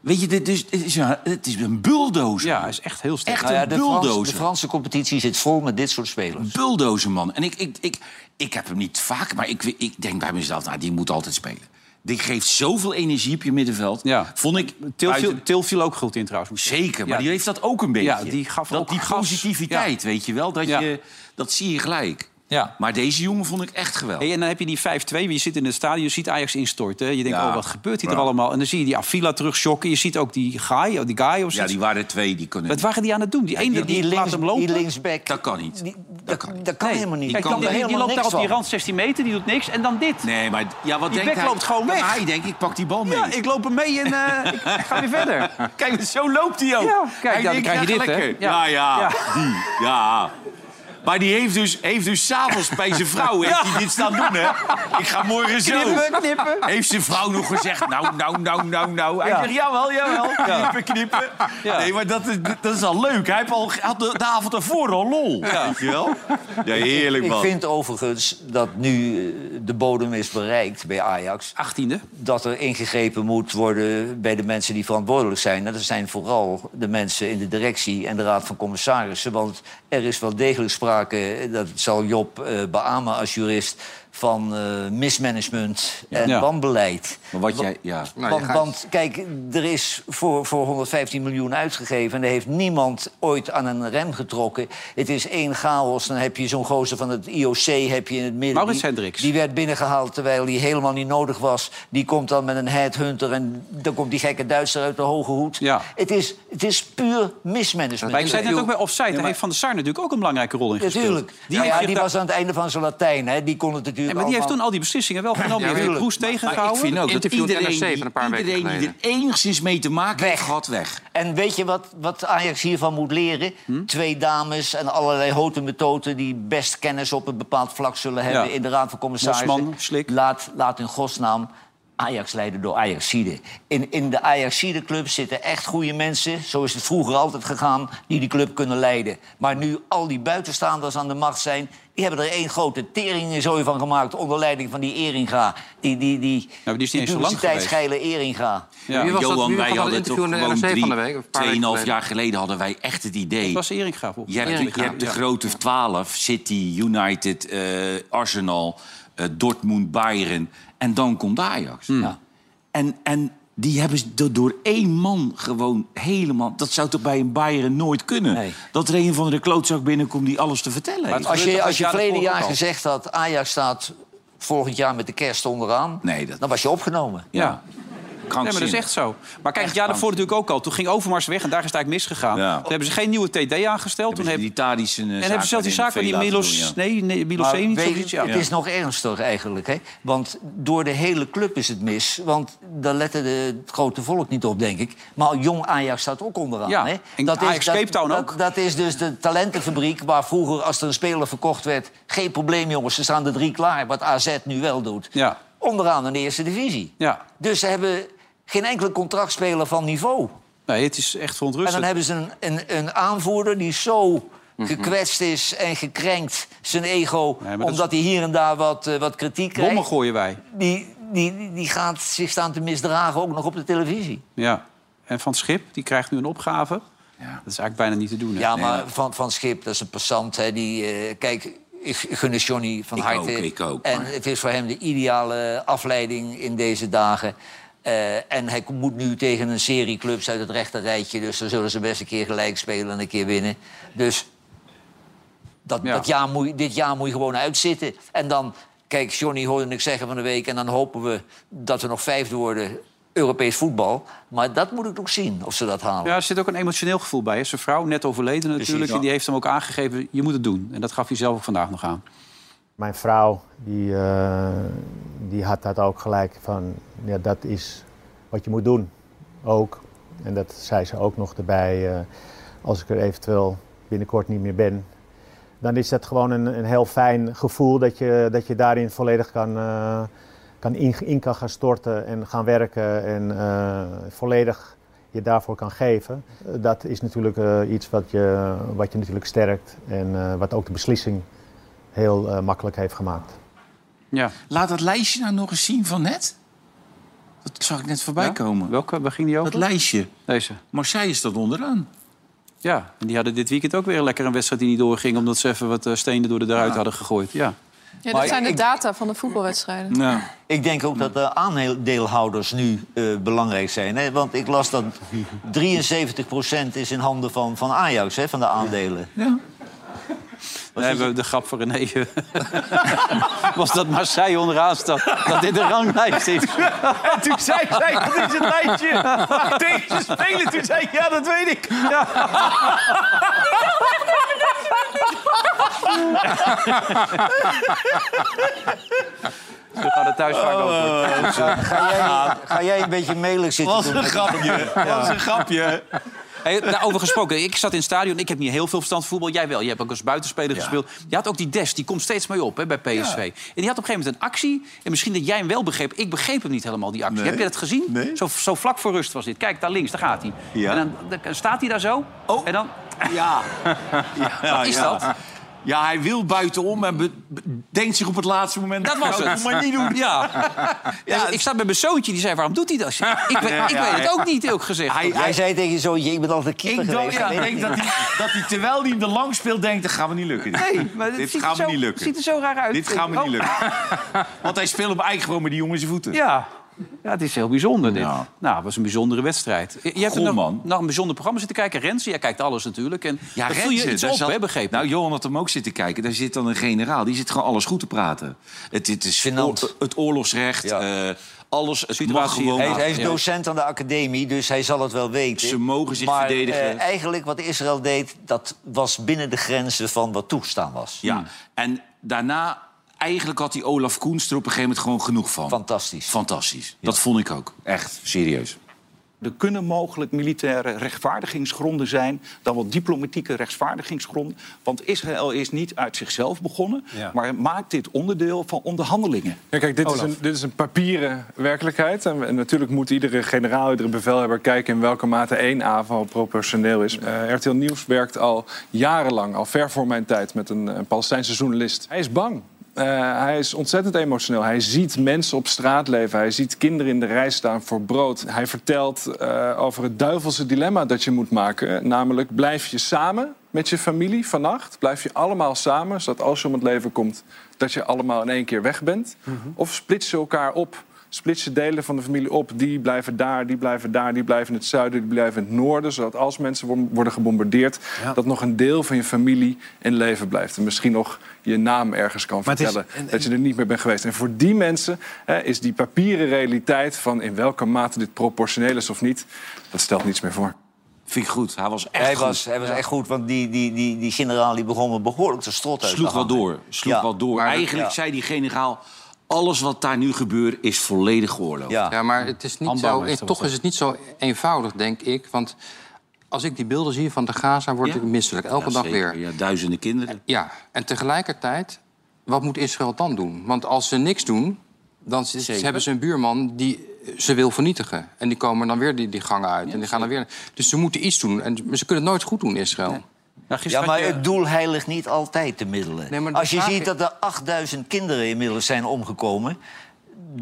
S5: Weet je, dit is, het, is een, het is een bulldozer.
S1: Ja, hij is echt heel sterk.
S5: Echt
S4: Nou ja,
S5: een
S4: de, Frans-
S5: bulldozer.
S4: de Franse competitie zit vol met dit soort spelers.
S5: bulldozer, man. En ik, ik, ik, ik heb hem niet vaak, maar ik, ik denk bij mezelf... Nou, die moet altijd spelen. Die geeft zoveel energie op je middenveld.
S1: Ja.
S5: Vond ik...
S1: Til viel,
S5: buiten-
S1: Til viel ook goed in trouwens. moet ik zeggen.
S5: Zeker, maar
S1: Ja.
S5: die heeft dat ook een beetje.
S1: Ja, die gaf
S5: dat,
S1: ook
S5: die
S1: gas.
S5: positiviteit, weet je wel. Dat,
S1: Ja.
S5: je, dat zie je gelijk.
S1: Ja.
S5: Maar deze jongen vond ik echt geweldig.
S1: Hey, en dan heb je die 5-2, wie je zit in het stadion, je ziet Ajax instorten. Je denkt,
S5: Ja.
S1: oh, wat gebeurt hier
S5: Ja.
S1: er allemaal? En dan zie je die Avila terugschokken. Je ziet ook die Guy, of die Guy of
S5: Ja,
S1: zoiets.
S5: die waren er twee, die kunnen...
S1: Wat waren die aan het doen? Die ene die, laat hem lopen.
S4: die linksback...
S5: Dat kan niet.
S4: die- dat,
S5: kan
S4: kan,
S5: niet.
S4: dat kan
S1: Nee,
S4: helemaal niet.
S1: Kijk,
S4: Kan
S1: dan- die,
S4: er
S1: die
S4: helemaal
S1: loopt daar
S4: niks
S1: op die
S4: van.
S1: rand 16 meter, die doet niks. En dan dit.
S5: Nee, maar ja, wat
S1: Die
S5: denkt
S1: bek
S5: hij?
S1: loopt gewoon weg.
S5: Maar Hij denkt, ik pak die bal mee.
S1: Ja, ik loop hem mee en eh, ik, ik ga weer verder.
S5: Kijk, dus zo loopt hij ook.
S1: Ja, kijk,
S5: Hij
S1: ja, dan
S5: denkt,
S1: krijg je
S5: ja,
S1: dit, hè?
S5: lekker.
S1: Ja.
S5: Ja, ja,
S1: Ja.
S5: die, ja. Maar die heeft dus, heeft dus s'avonds bij zijn vrouw heeft hij dit staan doen, hè? Ik ga morgen zo.
S1: Knippen, knippen.
S5: Heeft zijn vrouw nog gezegd, nou, nou, nou, nou, nou. Hij
S1: Ja.
S5: zegt, jawel, jawel. Knippen, knippen.
S1: Ja.
S5: Nee, maar dat is, dat is al leuk. Hij heeft al, had de, de avond ervoor al lol. Weet je wel? Ja, heerlijk,
S4: Ik
S5: man.
S4: vind overigens dat nu eh, de bodem is bereikt bij Ajax.
S1: 18e.
S4: Dat er ingegrepen moet worden bij de mensen die verantwoordelijk zijn. En Dat zijn vooral de mensen in de directie en de raad van commissarissen. Want er is wel degelijk sprake, eh, dat zal Job eh beamen als jurist... van eh, mismanagement en
S5: Ja.
S4: wanbeleid.
S5: Maar wat jij... Ja.
S3: Nou, je
S4: want,
S3: gaat-
S4: want kijk, er is voor, voor 115 miljoen uitgegeven... en er heeft niemand ooit aan een rem getrokken. Het is één chaos. Dan heb je zo'n gozer van het IOC heb je in het midden.
S1: Maurits
S4: die-
S1: Hendricks.
S4: Die werd binnengehaald terwijl die helemaal niet nodig was. Die komt dan met een headhunter en dan komt die gekke Duitser uit de hoge hoed.
S1: Ja.
S4: Het, is, het is puur mismanagement.
S1: Maar ik zei net ook bij Offside, daar heeft Van der Sar natuurlijk ook een belangrijke rol in gespeeld.
S4: Natuurlijk.
S1: Die,
S4: Die, ja,
S1: heeft
S4: die
S1: zich daar-
S4: was aan het einde van zijn Latijn. Hè. Die kon het
S1: Nee,
S4: natuurlijk
S1: maar die heeft toen
S4: allemaal-
S1: al die beslissingen wel genomen. Die heeft
S3: tuurlijk.
S1: Kroes
S5: Maar ik
S1: tegengehouden.
S5: vind ook dat
S3: Interview
S5: iedereen,
S3: NRC
S5: die,
S3: van een paar weken
S5: iedereen die er enigszins mee te maken heeft gehad, weg.
S4: En weet je wat, wat Ajax hiervan moet leren?
S1: Hm?
S4: Twee dames en allerlei houten metoten... die best kennis op een bepaald vlak zullen hebben
S1: Ja.
S4: in de Raad van Commissarissen.
S1: Bosman, Slik.
S4: Laat, laat in godsnaam Ajax leiden door Ajaxide. In, in de Ajaxide-club zitten echt goede mensen... zo is het vroeger altijd gegaan, die die club kunnen leiden. Maar nu al die buitenstaanders aan de macht zijn... die hebben er één grote teringenzooi van gemaakt... onder leiding van die Eringa. Die, die, die,
S1: maar die is niet eens zo lang
S4: publiciteitsgeile Eringa.
S1: Ja,
S3: Wie was dat-
S5: Johan,
S3: wie
S5: wij
S3: had dat
S5: hadden toch
S3: interview in de
S5: gewoon
S3: NRC
S5: drie,
S3: van de week, of een paar weken
S5: tweeënhalf
S3: geleden?
S5: jaar geleden hadden wij echt het idee...
S1: Dat was Eringa volgens
S5: Je hebt,
S3: Erika,
S5: je hebt de
S3: ja.
S5: grote 12, City, United, eh, Arsenal, eh, Dortmund, Bayern. En dan komt Ajax.
S1: Hmm.
S5: Ja. En, en die hebben ze do- door één man gewoon helemaal... Dat zou toch bij een Bayern nooit kunnen?
S4: Nee.
S5: Dat er een van de klootzak binnenkomt die alles te vertellen heeft.
S4: Als je,
S1: dat
S4: als je
S1: jaar
S4: verleden
S1: daarvoor
S4: jaar
S1: ook al.
S4: gezegd had... Ajax staat volgend jaar met de kerst onderaan...
S5: Nee, dat-
S4: dan was je opgenomen.
S5: Ja.
S1: Nee, maar dat is echt zo. Maar kijk, het jaar daarvoor natuurlijk ook al. Toen ging Overmars weg en daar is het eigenlijk misgegaan.
S5: Ja.
S1: Toen hebben ze geen nieuwe TD aangesteld. Toen
S5: Toen heeft
S1: heb-
S5: die Tadic een, eh,
S1: en hebben ze zelfs die
S5: zaak
S1: zaak waar die
S5: waarin veel laten
S1: Milos...
S5: doen, ja.
S1: Nee, nee, Milos
S4: Maar
S1: Zeenic,
S4: weet-
S1: zoiets, ja.
S4: Het is nog ernstiger eigenlijk. Hè? Want door de hele club is het mis. Want daar lette de, het grote volk niet op, denk ik. Maar jong Ajax staat ook onderaan.
S1: Ja,
S4: Hè?
S1: en Ajax Cape Town
S4: dat,
S1: ook.
S4: Dat is dus de talentenfabriek waar vroeger, als er een speler verkocht werd... geen probleem, jongens, er staan er drie klaar. Wat AZ nu wel doet.
S1: Ja.
S4: Onderaan in de eerste divisie.
S1: Ja.
S4: Dus ze hebben geen enkele contractspeler van niveau.
S1: Nee, het is echt
S4: En dan
S1: verontrustend.
S4: hebben ze een, een, een aanvoerder die zo gekwetst is en gekrenkt, zijn ego...
S1: Mhm. Nee, maar dat is-
S4: omdat hij hier en daar wat, eh, wat kritiek krijgt.
S1: Bommen gooien wij.
S4: Die, die, die gaat zich staan te misdragen, ook nog op de televisie.
S1: Ja. En Van Schip, die krijgt nu een opgave. Dat is eigenlijk bijna niet te doen. hè?
S4: ja, maar Van, van Schip, dat is een passant. Hè, die, eh, kijk, ik gun het Johnny van
S5: Ik
S4: harte.
S5: ook, ik ook,
S4: En
S5: maar-
S4: het is voor hem de ideale afleiding in deze dagen. Eh, en hij moet nu tegen een serie clubs uit het rechterrijtje. Dus dan zullen ze best een keer gelijk spelen en een keer winnen. Dus dat,
S1: Ja.
S4: dat jaar moet, je- dit jaar moet je gewoon uitzitten. En dan, kijk, Johnny hoorde ik zeggen van de week... en dan hopen we dat we nog vijfde worden Europees voetbal. Maar dat moet ik nog zien, of ze dat halen.
S1: Ja, er zit ook een emotioneel gevoel bij. Hè. Zijn vrouw, net overleden natuurlijk.
S4: ja.
S1: En die heeft hem ook aangegeven, je moet het doen. En dat gaf hij zelf ook vandaag nog aan.
S9: Mijn vrouw, die, eh, die had dat ook gelijk van, ja, dat is wat je moet doen, ook. En dat zei ze ook nog erbij, eh, als ik er eventueel binnenkort niet meer ben. Dan is dat gewoon een, een heel fijn gevoel dat je, dat je daarin volledig kan, eh, kan in, in kan gaan storten en gaan werken en eh, volledig je daarvoor kan geven. Eh, Dat is natuurlijk eh, iets wat je, wat je natuurlijk sterkt en eh, wat ook de beslissing heel eh, makkelijk heeft gemaakt.
S1: Ja.
S5: Laat dat lijstje nou nog eens zien van net. Dat zag ik net voorbij
S1: Ja?
S5: komen.
S1: Welke, waar ging die
S5: Dat
S1: over?
S5: lijstje.
S1: Deze.
S5: Marseille staat onderaan.
S1: Ja, en die hadden dit weekend ook weer lekker een wedstrijd die niet doorging... omdat ze even wat eh, stenen door de eruit hadden gegooid. Ja.
S2: Ja,
S4: Maar
S2: dat zijn de
S4: ik-
S2: data van de voetbalwedstrijden.
S5: Nou,
S4: Ik denk ook dat de aandeelhouders nu eh, belangrijk zijn. Hè? Want ik las dat 73% is in handen van, van Ajax, hè, van de aandelen.
S1: Dan hebben we de grap van René. Was dat Marseille onderaan staat, dat dit de ranglijst is.
S7: En toen zei zij, dat is een lijntje. Tegen ze spelen, toen zei ik, ja, dat weet ik.
S1: We gaan het thuis vaak
S5: Oh.
S1: over.
S4: Ga jij, ga jij een beetje melig zitten
S5: Wat
S4: doen?
S5: een grapje. Wat een grapje.
S1: Hey, daarover gesproken, ik zat in het stadion. Ik heb niet heel veel verstand van voetbal. Jij wel. Je hebt ook als buitenspeler gespeeld. Je had ook die Des, die komt steeds mee op hè, bij PSV. En die had op een gegeven moment een actie. En misschien dat jij hem wel begreep. Ik begreep hem niet helemaal, die actie.
S5: Nee.
S1: Heb je dat gezien?
S5: Nee.
S1: Zo, zo vlak voor rust was dit. Kijk, daar links, daar gaat hij.
S5: Ja.
S1: En dan, dan staat hij daar zo.
S5: Oh.
S1: En dan,
S5: Ja.
S1: wat is dat?
S5: Ja, hij wil buitenom en be- be- denkt zich op het laatste moment...
S1: Dat was
S5: "Nou,
S1: het.
S5: doe Maar niet doen.
S1: Ja. ja, ik zat bij mijn zoontje, die zei, waarom doet hij dat? Ik, weet-
S5: Ja,
S1: ik
S5: ja,
S1: weet
S5: ja.
S1: het ook niet, ook gezegd.
S5: Hij,
S4: Jij
S5: hij,
S4: zei tegen je zoontje, ik ben altijd keeper
S5: ik denk,
S4: geweest.
S5: ja,
S4: weet
S5: ik
S4: ik
S5: denk
S4: niet.
S5: dat, hij, dat hij, terwijl hij hem er langs speelt, denkt... dat gaan we niet lukken. dit.
S1: Nee, maar het
S5: dit
S1: ziet,
S5: gaan
S1: er
S5: we
S1: zo,
S5: niet lukken.
S1: ziet er zo raar uit.
S5: Dit gaan we
S1: Oh,
S5: niet lukken. Want hij speelt hem eigenlijk gewoon met die jongens zijn voeten.
S1: Ja. ja, het is heel bijzonder dit.
S5: Ja.
S1: Nou, het was een bijzondere wedstrijd. Je hebt
S5: Goh,
S1: nog,
S5: man.
S1: nog een bijzonder programma zitten kijken. Rensen, jij kijkt alles natuurlijk. En ja, dat viel je iets
S5: daar
S1: op,
S5: zat-
S1: hè, begreep ik.
S5: Nou, Johan had hem ook zitten kijken. Daar zit dan een generaal. Die zit gewoon alles goed te praten. Het, het is
S4: Gênant.
S5: oor- het oorlogsrecht,
S4: Ja.
S5: eh, alles. Het mag
S1: Situatie-
S5: gewoon.
S4: Hij, is- hij is
S1: Ja.
S4: docent aan de academie, dus hij zal het wel weten.
S5: Ze mogen zich
S4: maar,
S5: verdedigen.
S4: eh, eigenlijk wat Israël deed, dat was binnen de grenzen van wat toegestaan was.
S5: Ja. En daarna, eigenlijk had die Olaf Koens er op een gegeven moment gewoon genoeg van.
S4: Fantastisch.
S5: Fantastisch. Dat vond ik ook. Echt, serieus.
S10: Er kunnen mogelijk militaire rechtvaardigingsgronden zijn... dan wel diplomatieke rechtvaardigingsgronden. Want Israël is niet uit zichzelf begonnen...
S11: Ja.
S10: maar maakt dit onderdeel van onderhandelingen.
S11: Ja, kijk, dit is, een, dit is een papieren werkelijkheid. En, en natuurlijk moet iedere generaal, iedere bevelhebber kijken in welke mate één aanval proportioneel is. Eh, RTL Nieuws werkt al jarenlang, al ver voor mijn tijd, met een, een Palestijnse journalist. Hij is bang. Eh, hij is ontzettend emotioneel. Hij ziet mensen op straat leven. Hij ziet kinderen in de rij staan voor brood. Hij vertelt eh, over het duivelse dilemma dat je moet maken. Namelijk, blijf je samen met je familie vannacht? Blijf je allemaal samen, zodat als je om het leven komt... dat je allemaal in één keer weg bent? Of splits je elkaar op? Splits je delen van de familie op? Die blijven daar, die blijven daar, die blijven in het zuiden... die blijven in het noorden, zodat als mensen wor- worden gebombardeerd... dat nog een deel van je familie in leven blijft. En misschien nog je naam ergens kan Maar het is- vertellen. en- en- dat je er niet meer bent geweest. En voor die mensen hè, is die papieren realiteit... van in welke mate dit proportioneel is of niet... dat stelt niets meer voor.
S5: Vind ik goed. Hij was echt
S4: Hij
S5: goed.
S4: was, hij was echt goed, want die, die, die, die generaal die begon me behoorlijk te strot uit te
S5: Sloeg wel
S4: hangen.
S5: door. Sloeg
S4: Ja,
S5: wel door.
S4: maar dat-
S5: Eigenlijk
S4: ja.
S5: zei die generaal... alles wat daar nu gebeurt is volledig oorlog.
S4: Ja.
S3: Ja, maar het is niet
S5: Amber
S3: zo,
S5: heeft er wat
S3: toch is het niet zo eenvoudig, denk ik. Want als ik die beelden zie van de Gaza, word
S5: Ja?
S3: ik misselijk. Elke dag weer.
S5: Ja, duizenden kinderen.
S3: Ja, en tegelijkertijd, wat moet Israël dan doen? Want als ze niks doen, dan z- hebben ze een buurman die eh, ze wil vernietigen. En die komen dan weer die, die gangen uit. en die gaan dan weer... Dus ze moeten iets doen. En ze kunnen het nooit goed doen, Israël.
S1: Ja,
S4: Ja,
S1: Nou, gisteren
S4: maar
S1: had je-
S4: het doel heiligt niet altijd de middelen.
S3: Nee, maar de
S4: Als je
S3: vraag
S4: ziet
S3: is-
S4: dat er 8000 kinderen inmiddels zijn omgekomen...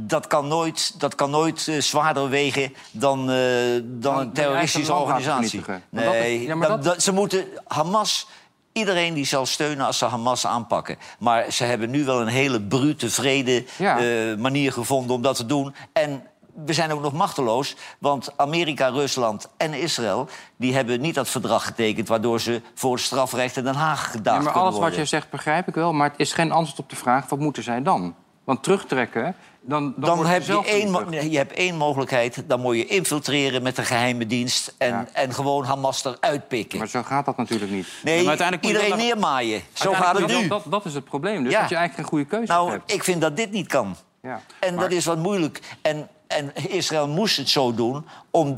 S4: dat kan nooit, dat kan nooit eh, zwaarder wegen dan, eh, dan een
S3: eigen
S4: terroristische
S3: land laten
S4: organisatie.
S3: vernietigen. Maar dat is-
S4: Nee,
S3: ja, maar
S4: dat-
S3: dat-
S4: dat- ze moeten Hamas... Iedereen die zal steunen als ze Hamas aanpakken. Maar ze hebben nu wel een hele brute, vrede
S3: Ja.
S4: eh, manier gevonden om dat te doen. En we zijn ook nog machteloos, want Amerika, Rusland en Israël... die hebben niet dat verdrag getekend... waardoor ze voor het strafrecht in Den Haag
S3: Ja,
S4: gedaagd
S3: maar
S4: kunnen
S3: alles wat
S4: worden.
S3: je zegt begrijp ik wel. Maar het is geen antwoord op de vraag, wat moeten zij dan? Want terugtrekken, dan, dan,
S4: Dan
S3: wordt
S4: heb
S3: het
S4: je,
S3: zelf
S4: één, mo-
S3: vernietigd.
S4: nee, je hebt één mogelijkheid. Dan moet je infiltreren met de geheime dienst... en,
S3: Ja.
S4: en gewoon Hamas eruit pikken.
S3: Maar zo gaat dat natuurlijk niet.
S4: Nee,
S1: maar uiteindelijk moet je
S4: iedereen
S1: dan-
S4: neermaaien. Zo gaat
S3: Uiteindelijk
S4: het nu.
S3: Dat, dat, dat is het probleem. Dus
S4: Ja.
S3: dat je eigenlijk geen goede keuze
S4: Nou,
S3: hebt.
S4: ik vind dat dit niet kan.
S3: Ja.
S4: En dat is wat moeilijk. En, en Israël moest het zo doen om,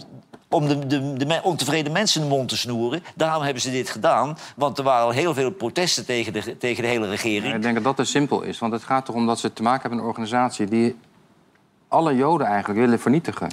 S4: om de, de, de me- ontevreden mensen de mond te snoeren. Daarom hebben ze dit gedaan. Want er waren al heel veel protesten tegen de, tegen de hele regering.
S3: Ik denk dat dat te simpel is. Want het gaat erom dat ze te maken hebben met een organisatie die alle Joden eigenlijk willen vernietigen.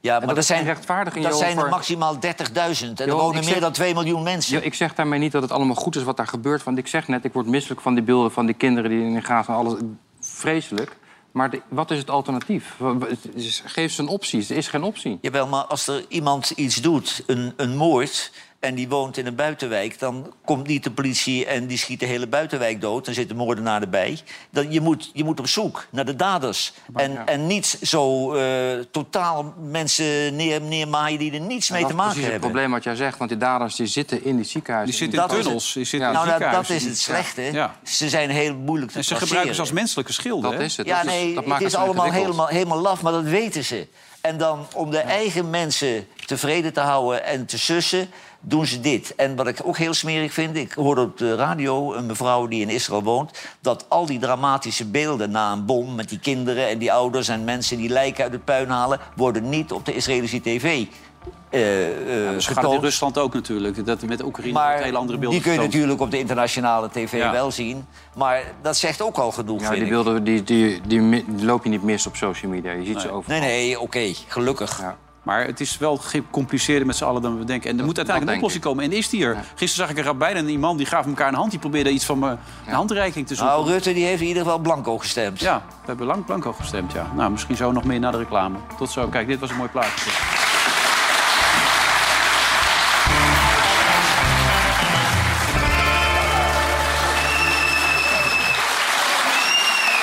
S4: Ja,
S3: En
S4: maar
S3: dat
S4: dat
S3: is geen
S4: zijn,
S3: rechtvaardiging,
S4: dat
S3: Johan,
S4: zijn er
S3: voor-
S4: maximaal 30.000. En er
S3: Johan,
S4: wonen
S3: ik
S4: meer
S3: zeg-
S4: dan 2 miljoen mensen.
S3: Ja, ik zeg daarmee niet dat het allemaal goed is wat daar gebeurt. Want ik zeg net, ik word misselijk van die beelden van die kinderen die in de gaten. Alles vreselijk. Maar de- wat is het alternatief? Wa- wa- het is- Geef ze een optie. Er is geen optie.
S4: Jawel, maar als er iemand iets doet, een, een moord... en die woont in een buitenwijk, dan komt niet de politie... en die schiet de hele buitenwijk dood, dan zit de moordenaar erbij. Dan, je, moet, je moet op zoek naar de daders. En, en niet zo eh, totaal mensen neer, neermaaien die er niets mee
S3: dat
S4: te
S3: is
S4: maken
S3: precies het
S4: hebben.
S3: probleem wat jij zegt. Want die daders die zitten in die ziekenhuizen.
S1: Die zitten
S3: in
S1: in
S4: dat is
S1: tunnels. Die zitten in
S4: nou, dat, dat
S1: ziekenhuizen.
S4: is het slechte.
S1: Ja.
S4: Ze zijn heel moeilijk te
S1: En ze
S4: traceren.
S1: gebruiken ze als menselijke schilden.
S3: Dat
S1: hè?
S3: is het.
S4: Ja,
S3: dat
S4: nee,
S3: is, dat maakt
S4: het is
S3: zo
S4: allemaal
S3: ingewikkeld.
S4: helemaal, helemaal laf, maar dat weten ze. En dan om de eigen mensen tevreden te houden en te sussen, doen ze dit. En wat ik ook heel smerig vind, ik hoorde op de radio een mevrouw die in Israël woont... dat al die dramatische beelden na een bom met die kinderen en die ouders... en mensen die lijken uit het puin halen, worden niet op de Israëlische tv eh,
S1: Ze
S4: eh,
S1: gaat het in
S4: getoond.
S1: Rusland ook natuurlijk. Dat met Oekraïne wordt
S4: Maar
S1: hele andere beelden
S4: die kun je
S1: getoond.
S4: natuurlijk op de internationale tv
S1: Ja.
S4: wel zien. Maar dat zegt ook al genoeg,
S3: Ja,
S4: vind
S3: die
S4: ik.
S3: beelden die, die, die, mi- die loop je niet mis op social media. Je ziet ze overal.
S4: Nee, nee, oké, gelukkig.
S3: Ja.
S1: Maar het is wel gecompliceerder met z'n allen dan we denken. En er moet uiteindelijk een
S3: dat denk
S1: oplossing komen. En die is die er. Gisteren zag ik een rabbijn en iemand die gaven elkaar een hand. Die probeerde iets van eh, een handreiking te zoeken.
S4: Nou, Rutte die heeft in ieder geval blanco gestemd.
S1: Ja, we hebben lang blanco gestemd, ja. Nou, misschien zo nog meer na de reclame. Tot zo. Kijk, dit was een mooi plaatje.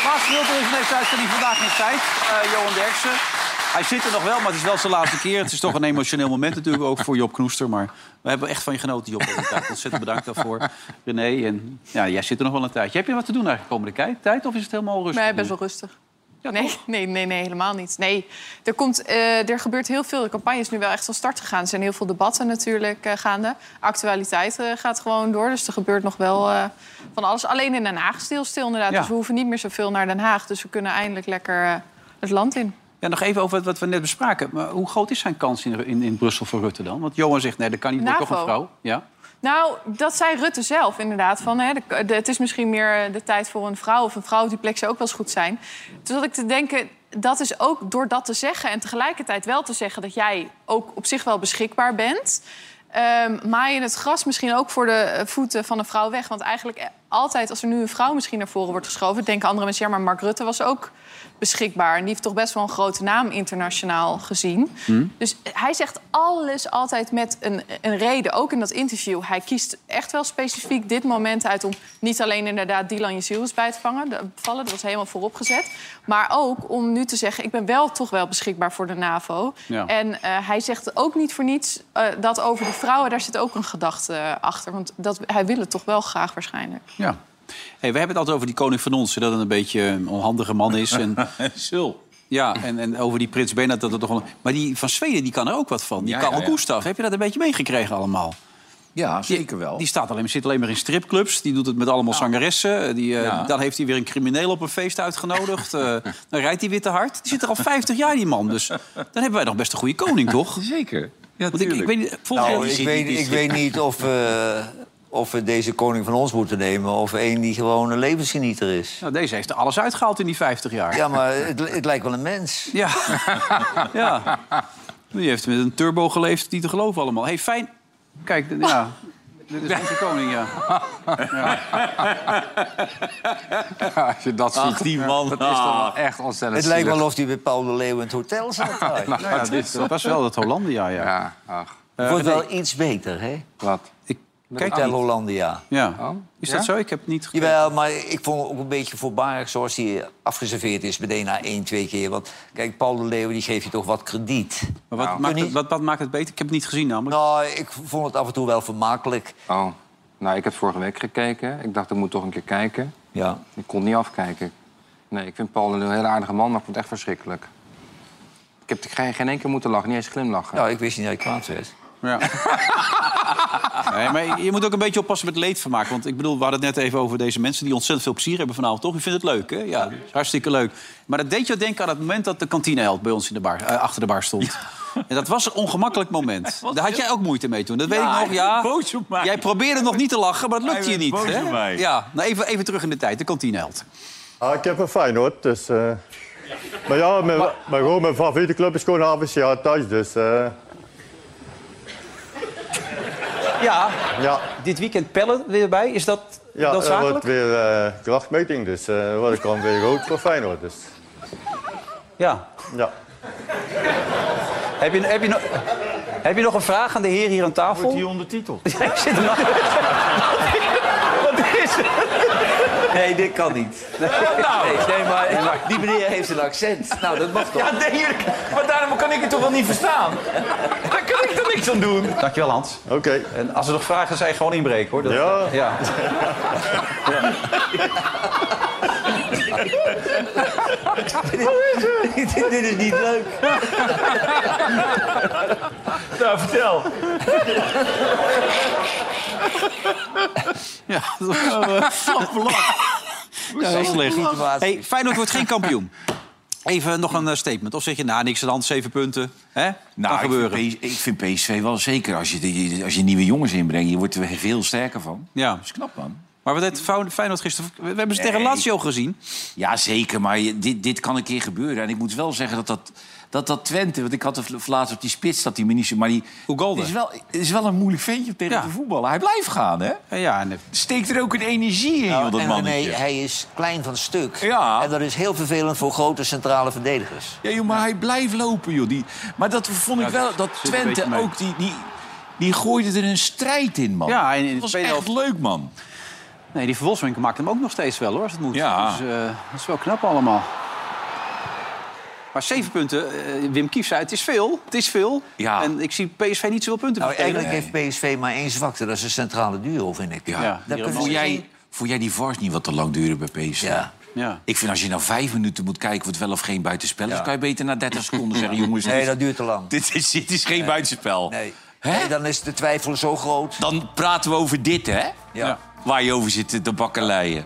S1: Laatste filter is in deze uitzending vandaag in tijd. Eh, Johan Derksen. Hij zit er nog wel, maar het is wel zijn laatste keer. Het is toch een emotioneel moment natuurlijk, ook voor Job Knoester. Maar we hebben echt van je genoten, Job. deze tijd. Ontzettend bedankt daarvoor, René. En ja, jij zit er nog wel een tijdje. Heb je wat te doen eigenlijk de komende kei- tijd? Of is het helemaal rustig?
S2: Nee, best wel rustig. nee, nee, nee, nee, helemaal niet. Nee, er, komt, eh, er gebeurt heel veel. De campagne is nu wel echt van start gegaan. Er zijn heel veel debatten natuurlijk eh, gaande. Actualiteit eh, gaat gewoon door, dus er gebeurt nog wel eh, van alles. Alleen in Den Haag stilstil inderdaad.
S1: Ja.
S2: Dus we hoeven niet meer zoveel naar Den Haag. Dus we kunnen eindelijk lekker eh, het land in.
S1: Ja, nog even over wat- wat we net bespraken. Maar hoe groot is zijn kans in, in, in Brussel voor Rutte dan? Want Johan zegt, nee, dat kan niet, wordt toch een
S2: NAVO.
S1: vrouw. Ja.
S2: Nou, dat zei Rutte zelf inderdaad. Van, hè, de, de- het is misschien meer eh, de tijd voor een vrouw. Of een vrouw op die plek zou ook wel eens goed zijn. Toen zat ik te denken, dat is ook door dat te zeggen... en tegelijkertijd wel te zeggen dat jij ook op zich wel beschikbaar bent... ehm maai je het gras misschien ook voor de eh, voeten van een vrouw weg. Want eigenlijk eh, altijd als er nu een vrouw misschien naar voren wordt geschoven... denken andere mensen, ja, maar Mark Rutte was ook beschikbaar. En die heeft toch best wel een grote naam internationaal gezien.
S4: Hmm.
S2: Dus hij zegt alles altijd met een, een reden, ook in dat interview. Hij kiest echt wel specifiek dit moment uit om niet alleen inderdaad Dylan Jezielus bij te vangen, de- vallen, dat was helemaal vooropgezet. Maar ook om nu te zeggen, ik ben wel toch wel beschikbaar voor de NAVO.
S12: Ja.
S2: En eh, hij zegt ook niet voor niets eh, dat over de vrouwen, daar zit ook een gedachte achter. Want dat, hij wil het toch wel graag waarschijnlijk.
S1: ja. Hey, we hebben het altijd over die koning van ons. hè, Dat het een beetje een onhandige man is. En, Zul. Ja, en, en over die prins Bernhard. Dat het toch wel- Maar die van Zweden die kan er ook wat van. Die
S5: Ja,
S1: Karel
S5: ja, ja.
S1: Gustav. Heb je dat een beetje meegekregen allemaal?
S5: Ja, zeker wel.
S1: Die staat alleen, maar- zit alleen maar in stripclubs. Die doet het met allemaal zangeressen. Die, eh,
S5: Ja.
S1: Dan heeft hij weer een crimineel op een feest uitgenodigd. Eh, dan rijdt hij weer te hard. Die zit er al 50 jaar, die man. Dus dan hebben wij nog best een goede koning, toch?
S5: Zeker.
S1: Want ik, ik weet niet, volgens
S4: Nou,
S1: mij-
S4: ik, weet, ik weet niet of, eh, of we deze koning van ons moeten nemen... of één die gewoon een levensgenieter is.
S1: Nou, deze heeft er alles uitgehaald in die 50 jaar.
S4: Ja, maar het, het lijkt wel een mens.
S1: Ja. ja. Die heeft met een turbo geleefd, die te geloven allemaal. hey, fijn. Kijk, d- ja. Dit is onze koning, ja.
S3: Als je dat
S1: Ach,
S3: ziet.
S1: die man.
S3: Dat is toch wel
S1: Ah.
S3: echt ontzettend
S4: Het lijkt
S3: zielig.
S4: wel of hij bij Paul de Leeuw in het hotel zat.
S3: Nou,
S1: Ja,
S3: dat is-
S1: dat was wel dat Hollandia, ja.
S3: Ja, ach.
S4: Het wordt
S1: Eh,
S4: wel iets beter, hè?
S3: Wat?
S1: Ik
S4: Kijk,
S1: kijk
S4: Hotel
S1: niet.
S4: Hollandia.
S1: Oh. Ja. Is dat
S4: Ja?
S1: zo? Ik heb niet... ge-
S4: Jawel, maar ik vond het ook een beetje voorbarig zoals hij afgeserveerd is... meteen na één, twee keer. Want kijk, Paul de Leeuw die geeft je toch wat krediet.
S1: Maar wat,
S4: Nou,
S1: maakt
S4: kun
S1: het, wat, wat maakt het beter? Ik heb het niet gezien namelijk.
S4: Nou, ik vond het af en toe wel vermakelijk.
S3: Oh, nou, ik heb vorige week gekeken. Ik dacht, ik moet toch een keer kijken.
S4: Ja.
S3: Ik kon niet afkijken. Nee, ik vind Paul een heel aardige man, maar ik vond het echt verschrikkelijk. Ik heb er geen, geen één keer moeten lachen, niet eens glimlachen.
S4: Nou, ik wist niet dat ik kwaad werd.
S1: Ja. Nee, maar je moet ook een beetje oppassen met leedvermaak. Want ik bedoel, we hadden het net even over deze mensen... die ontzettend veel plezier hebben vanavond, toch? U vindt het leuk, hè? Ja, dat is hartstikke leuk. Maar dat deed je denken aan het moment dat de kantineheld... bij ons in de bar, eh, achter de bar stond. En dat was een ongemakkelijk moment. Daar had jij ook moeite mee toen. Dat weet
S5: Ja,
S1: ik nog, ja.
S5: hij was boos op mij.
S1: Jij probeerde nog niet te lachen, maar Nou, dat lukte
S5: Hij
S1: je
S5: was
S1: niet.
S5: boos
S1: hè?
S5: op mij.
S1: Ja, nou, even, even terug in de tijd, de kantineheld.
S13: Ja, Ah, ik heb een Feyenoord, dus... eh, Maar ja, mijn, maar gewoon, mijn favoriete club is gewoon HVCH thuis, dus... eh,
S1: Ja,
S13: ja.
S1: dit weekend pellen weer bij. Is dat,
S13: Ja,
S1: dat
S13: er wordt
S1: zakelijk?
S13: weer eh, krachtmeting, dus eh wat ik kan weer goed voor Feyenoord, dus...
S1: Ja.
S13: Ja.
S1: Heb je, heb, je nog, heb je nog een vraag aan de heer hier aan tafel? Wordt die ondertiteld? ik zit er nog... Wat is het?
S4: Nee, dit kan niet. Nee,
S7: nou?
S4: nee, maar die meneer heeft een accent. Nou, dat mag toch?
S7: Ja, nee, jullie- maar daarom kan ik het toch wel niet verstaan? Daar kan ik toch niks aan doen?
S1: Dankjewel, Hans.
S13: Oké.
S1: En als er nog vragen zijn, gewoon inbreken, hoor. Dat-
S13: Ja.
S1: ja.
S4: dit, dit is niet leuk.
S7: Nou, vertel.
S1: Ja, dat was Ja, heel slecht. Hey, Feyenoord wordt geen kampioen. Even nog een eh, statement. Of zeg je, nou, niks aan de hand, zeven punten. Hè?
S5: Nou,
S1: kan
S5: ik
S1: gebeuren.
S5: vind, PS ik vind PSV wel zeker. Als je, die- als je nieuwe jongens inbrengt, je wordt er heel sterker van.
S1: Ja.
S5: Dat is knap, man.
S1: Maar wat heeft Fou- Feyenoord gisteren... We hebben ze tegen
S5: Nee.
S1: Lazio gezien.
S5: Ja, zeker. Maar je- dit, dit kan een keer gebeuren. En ik moet wel zeggen dat dat, dat, dat Twente... Want ik had het v- laatst op die spits dat die minister... Maar die
S1: Ugalde.
S5: het is wel, het is wel een moeilijk ventje om tegen
S1: Ja.
S5: te voetballen. Hij blijft gaan, hè?
S1: Eh, Ja, en
S5: Steekt er ook een energie in, joh, dat
S4: Nou, en
S5: mannetje.
S4: René, hij is klein van stuk.
S5: Ja.
S4: En dat is heel vervelend voor grote centrale verdedigers.
S5: Ja, joh, maar hij blijft lopen, joh. Die, maar dat vond ik
S4: Ja,
S5: wel...
S4: dat
S5: Dat
S4: zit een beetje
S5: Twente
S4: mee.
S5: ook... Die, die, die gooide er een strijd in, man.
S1: Ja, en in
S5: dat
S1: de
S5: was
S1: tweede
S5: echt
S1: helft-
S5: leuk, man.
S1: Nee, die verwolswinkel maakt hem ook nog steeds wel, hoor, als het moet.
S5: Ja.
S1: Dus eh, dat is wel knap allemaal. Maar zeven punten, eh, Wim Kief zei, het is veel. Het is veel.
S4: Ja.
S1: En ik zie PSV niet zoveel punten
S4: Nou,
S1: verspelen.
S4: eigenlijk heeft PSV maar één zwakte. Dat is een centrale duo, vind ik.
S5: Ja.
S4: Daar kunnen
S5: Vond
S4: ze
S5: jij,
S4: geen-
S5: vond jij die VARs niet wat te lang duren bij PSV?
S4: Ja.
S1: Ja.
S5: Ik vind als je nou vijf minuten moet kijken wat wel of geen buitenspel is...
S4: Ja.
S5: kan je beter na 30 seconden zeggen, jongens...
S4: Nee,
S5: dit-
S4: dat duurt te lang.
S5: Dit is, dit is geen buitenspel.
S4: Nee.
S5: Hè?
S4: Nee, dan is de twijfel zo groot.
S5: Dan praten we over dit, hè?
S4: Ja.
S5: Waar je over zit te bakkeleien.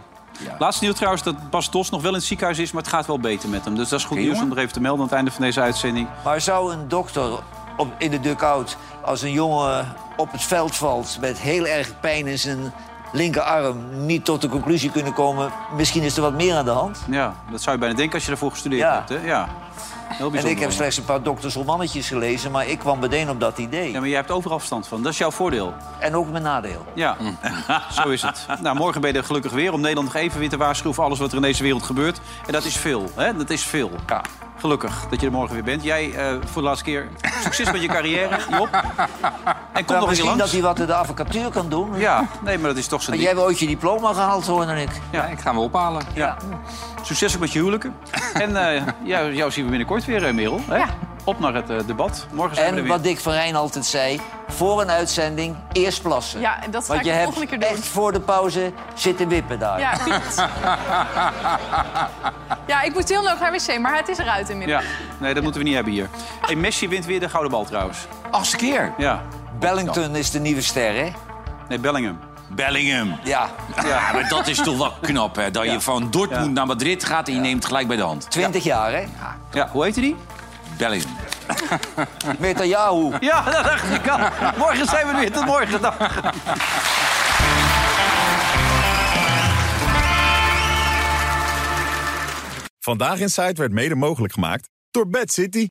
S1: Laatste nieuws trouwens dat Bas Dos nog wel in het ziekenhuis is... maar het gaat wel beter met hem. Dus dat is goed
S4: Oké,
S1: nieuws om
S4: jongen.
S1: er even te melden aan het einde van deze uitzending.
S4: Maar zou een dokter op, in de dugout, als een jongen op het veld valt met heel erg pijn in zijn linkerarm, niet tot de conclusie kunnen komen: misschien is er wat meer aan de hand?
S1: Ja, dat zou je bijna denken als je daarvoor gestudeerd
S4: Ja.
S1: hebt. Hè? Ja. Heel
S4: En
S1: bijzonder.
S4: ik heb slechts een paar dokters of mannetjes gelezen, maar ik kwam meteen op dat idee.
S1: Ja, maar jij hebt overal afstand van. Dat is jouw voordeel.
S4: En ook mijn nadeel.
S1: Ja, Hm. zo is het. Nou, morgen ben je er gelukkig weer om Nederland nog even weer te waarschuwen... voor alles wat er in deze wereld gebeurt. En dat is veel, hè? Dat is veel. Gelukkig dat je er morgen weer bent. Jij, eh, voor de laatste keer, succes met je carrière, Job. En kom
S4: Nou,
S1: nog eens
S4: misschien dat
S1: langs.
S4: hij wat in de advocatuur kan doen.
S1: Ja, nee, maar dat is toch
S4: Maar
S1: zijn
S4: jij
S1: ding.
S4: hebt ooit je diploma gehaald, hoor ik.
S1: Ja,
S3: ik ga hem ophalen.
S1: Ja. Succes ook met je huwelijken. En eh, jou, jou zien we binnenkort weer, eh, Merel. Hè? Op naar het eh, debat. Morgen zijn we
S4: En
S1: er weer.
S4: wat Dick van Rijn altijd zei, voor een uitzending eerst plassen.
S2: Ja, dat ga
S4: Want
S2: ik
S4: je
S2: de
S4: hebt
S2: volgende keer doen.
S4: echt voor de pauze zitten wippen daar.
S2: Ja, klopt. Ja, ik moet heel nodig naar wc, maar het is eruit
S1: Ja,
S2: inmiddels.
S1: nee, dat moeten we niet hebben hier. Hey, Messi wint weer de gouden bal trouwens.
S4: Achtste keer.
S1: Ja.
S4: Bellington is de nieuwe ster, hè?
S1: Nee, Bellingham.
S5: Bellingham.
S4: Ja.
S5: Ja, maar dat is toch wel knap, hè? Dat je van Dortmund naar Madrid gaat en je neemt gelijk bij de hand.
S4: 20 jaar, hè?
S1: Ja, hoe heette die?
S5: Bellingham.
S4: Netanyahu.
S1: Ja, dat dacht ik al. Morgen zijn we er weer. Tot morgen. Dag.
S14: Vandaag in Zuid werd mede mogelijk gemaakt door Bad City.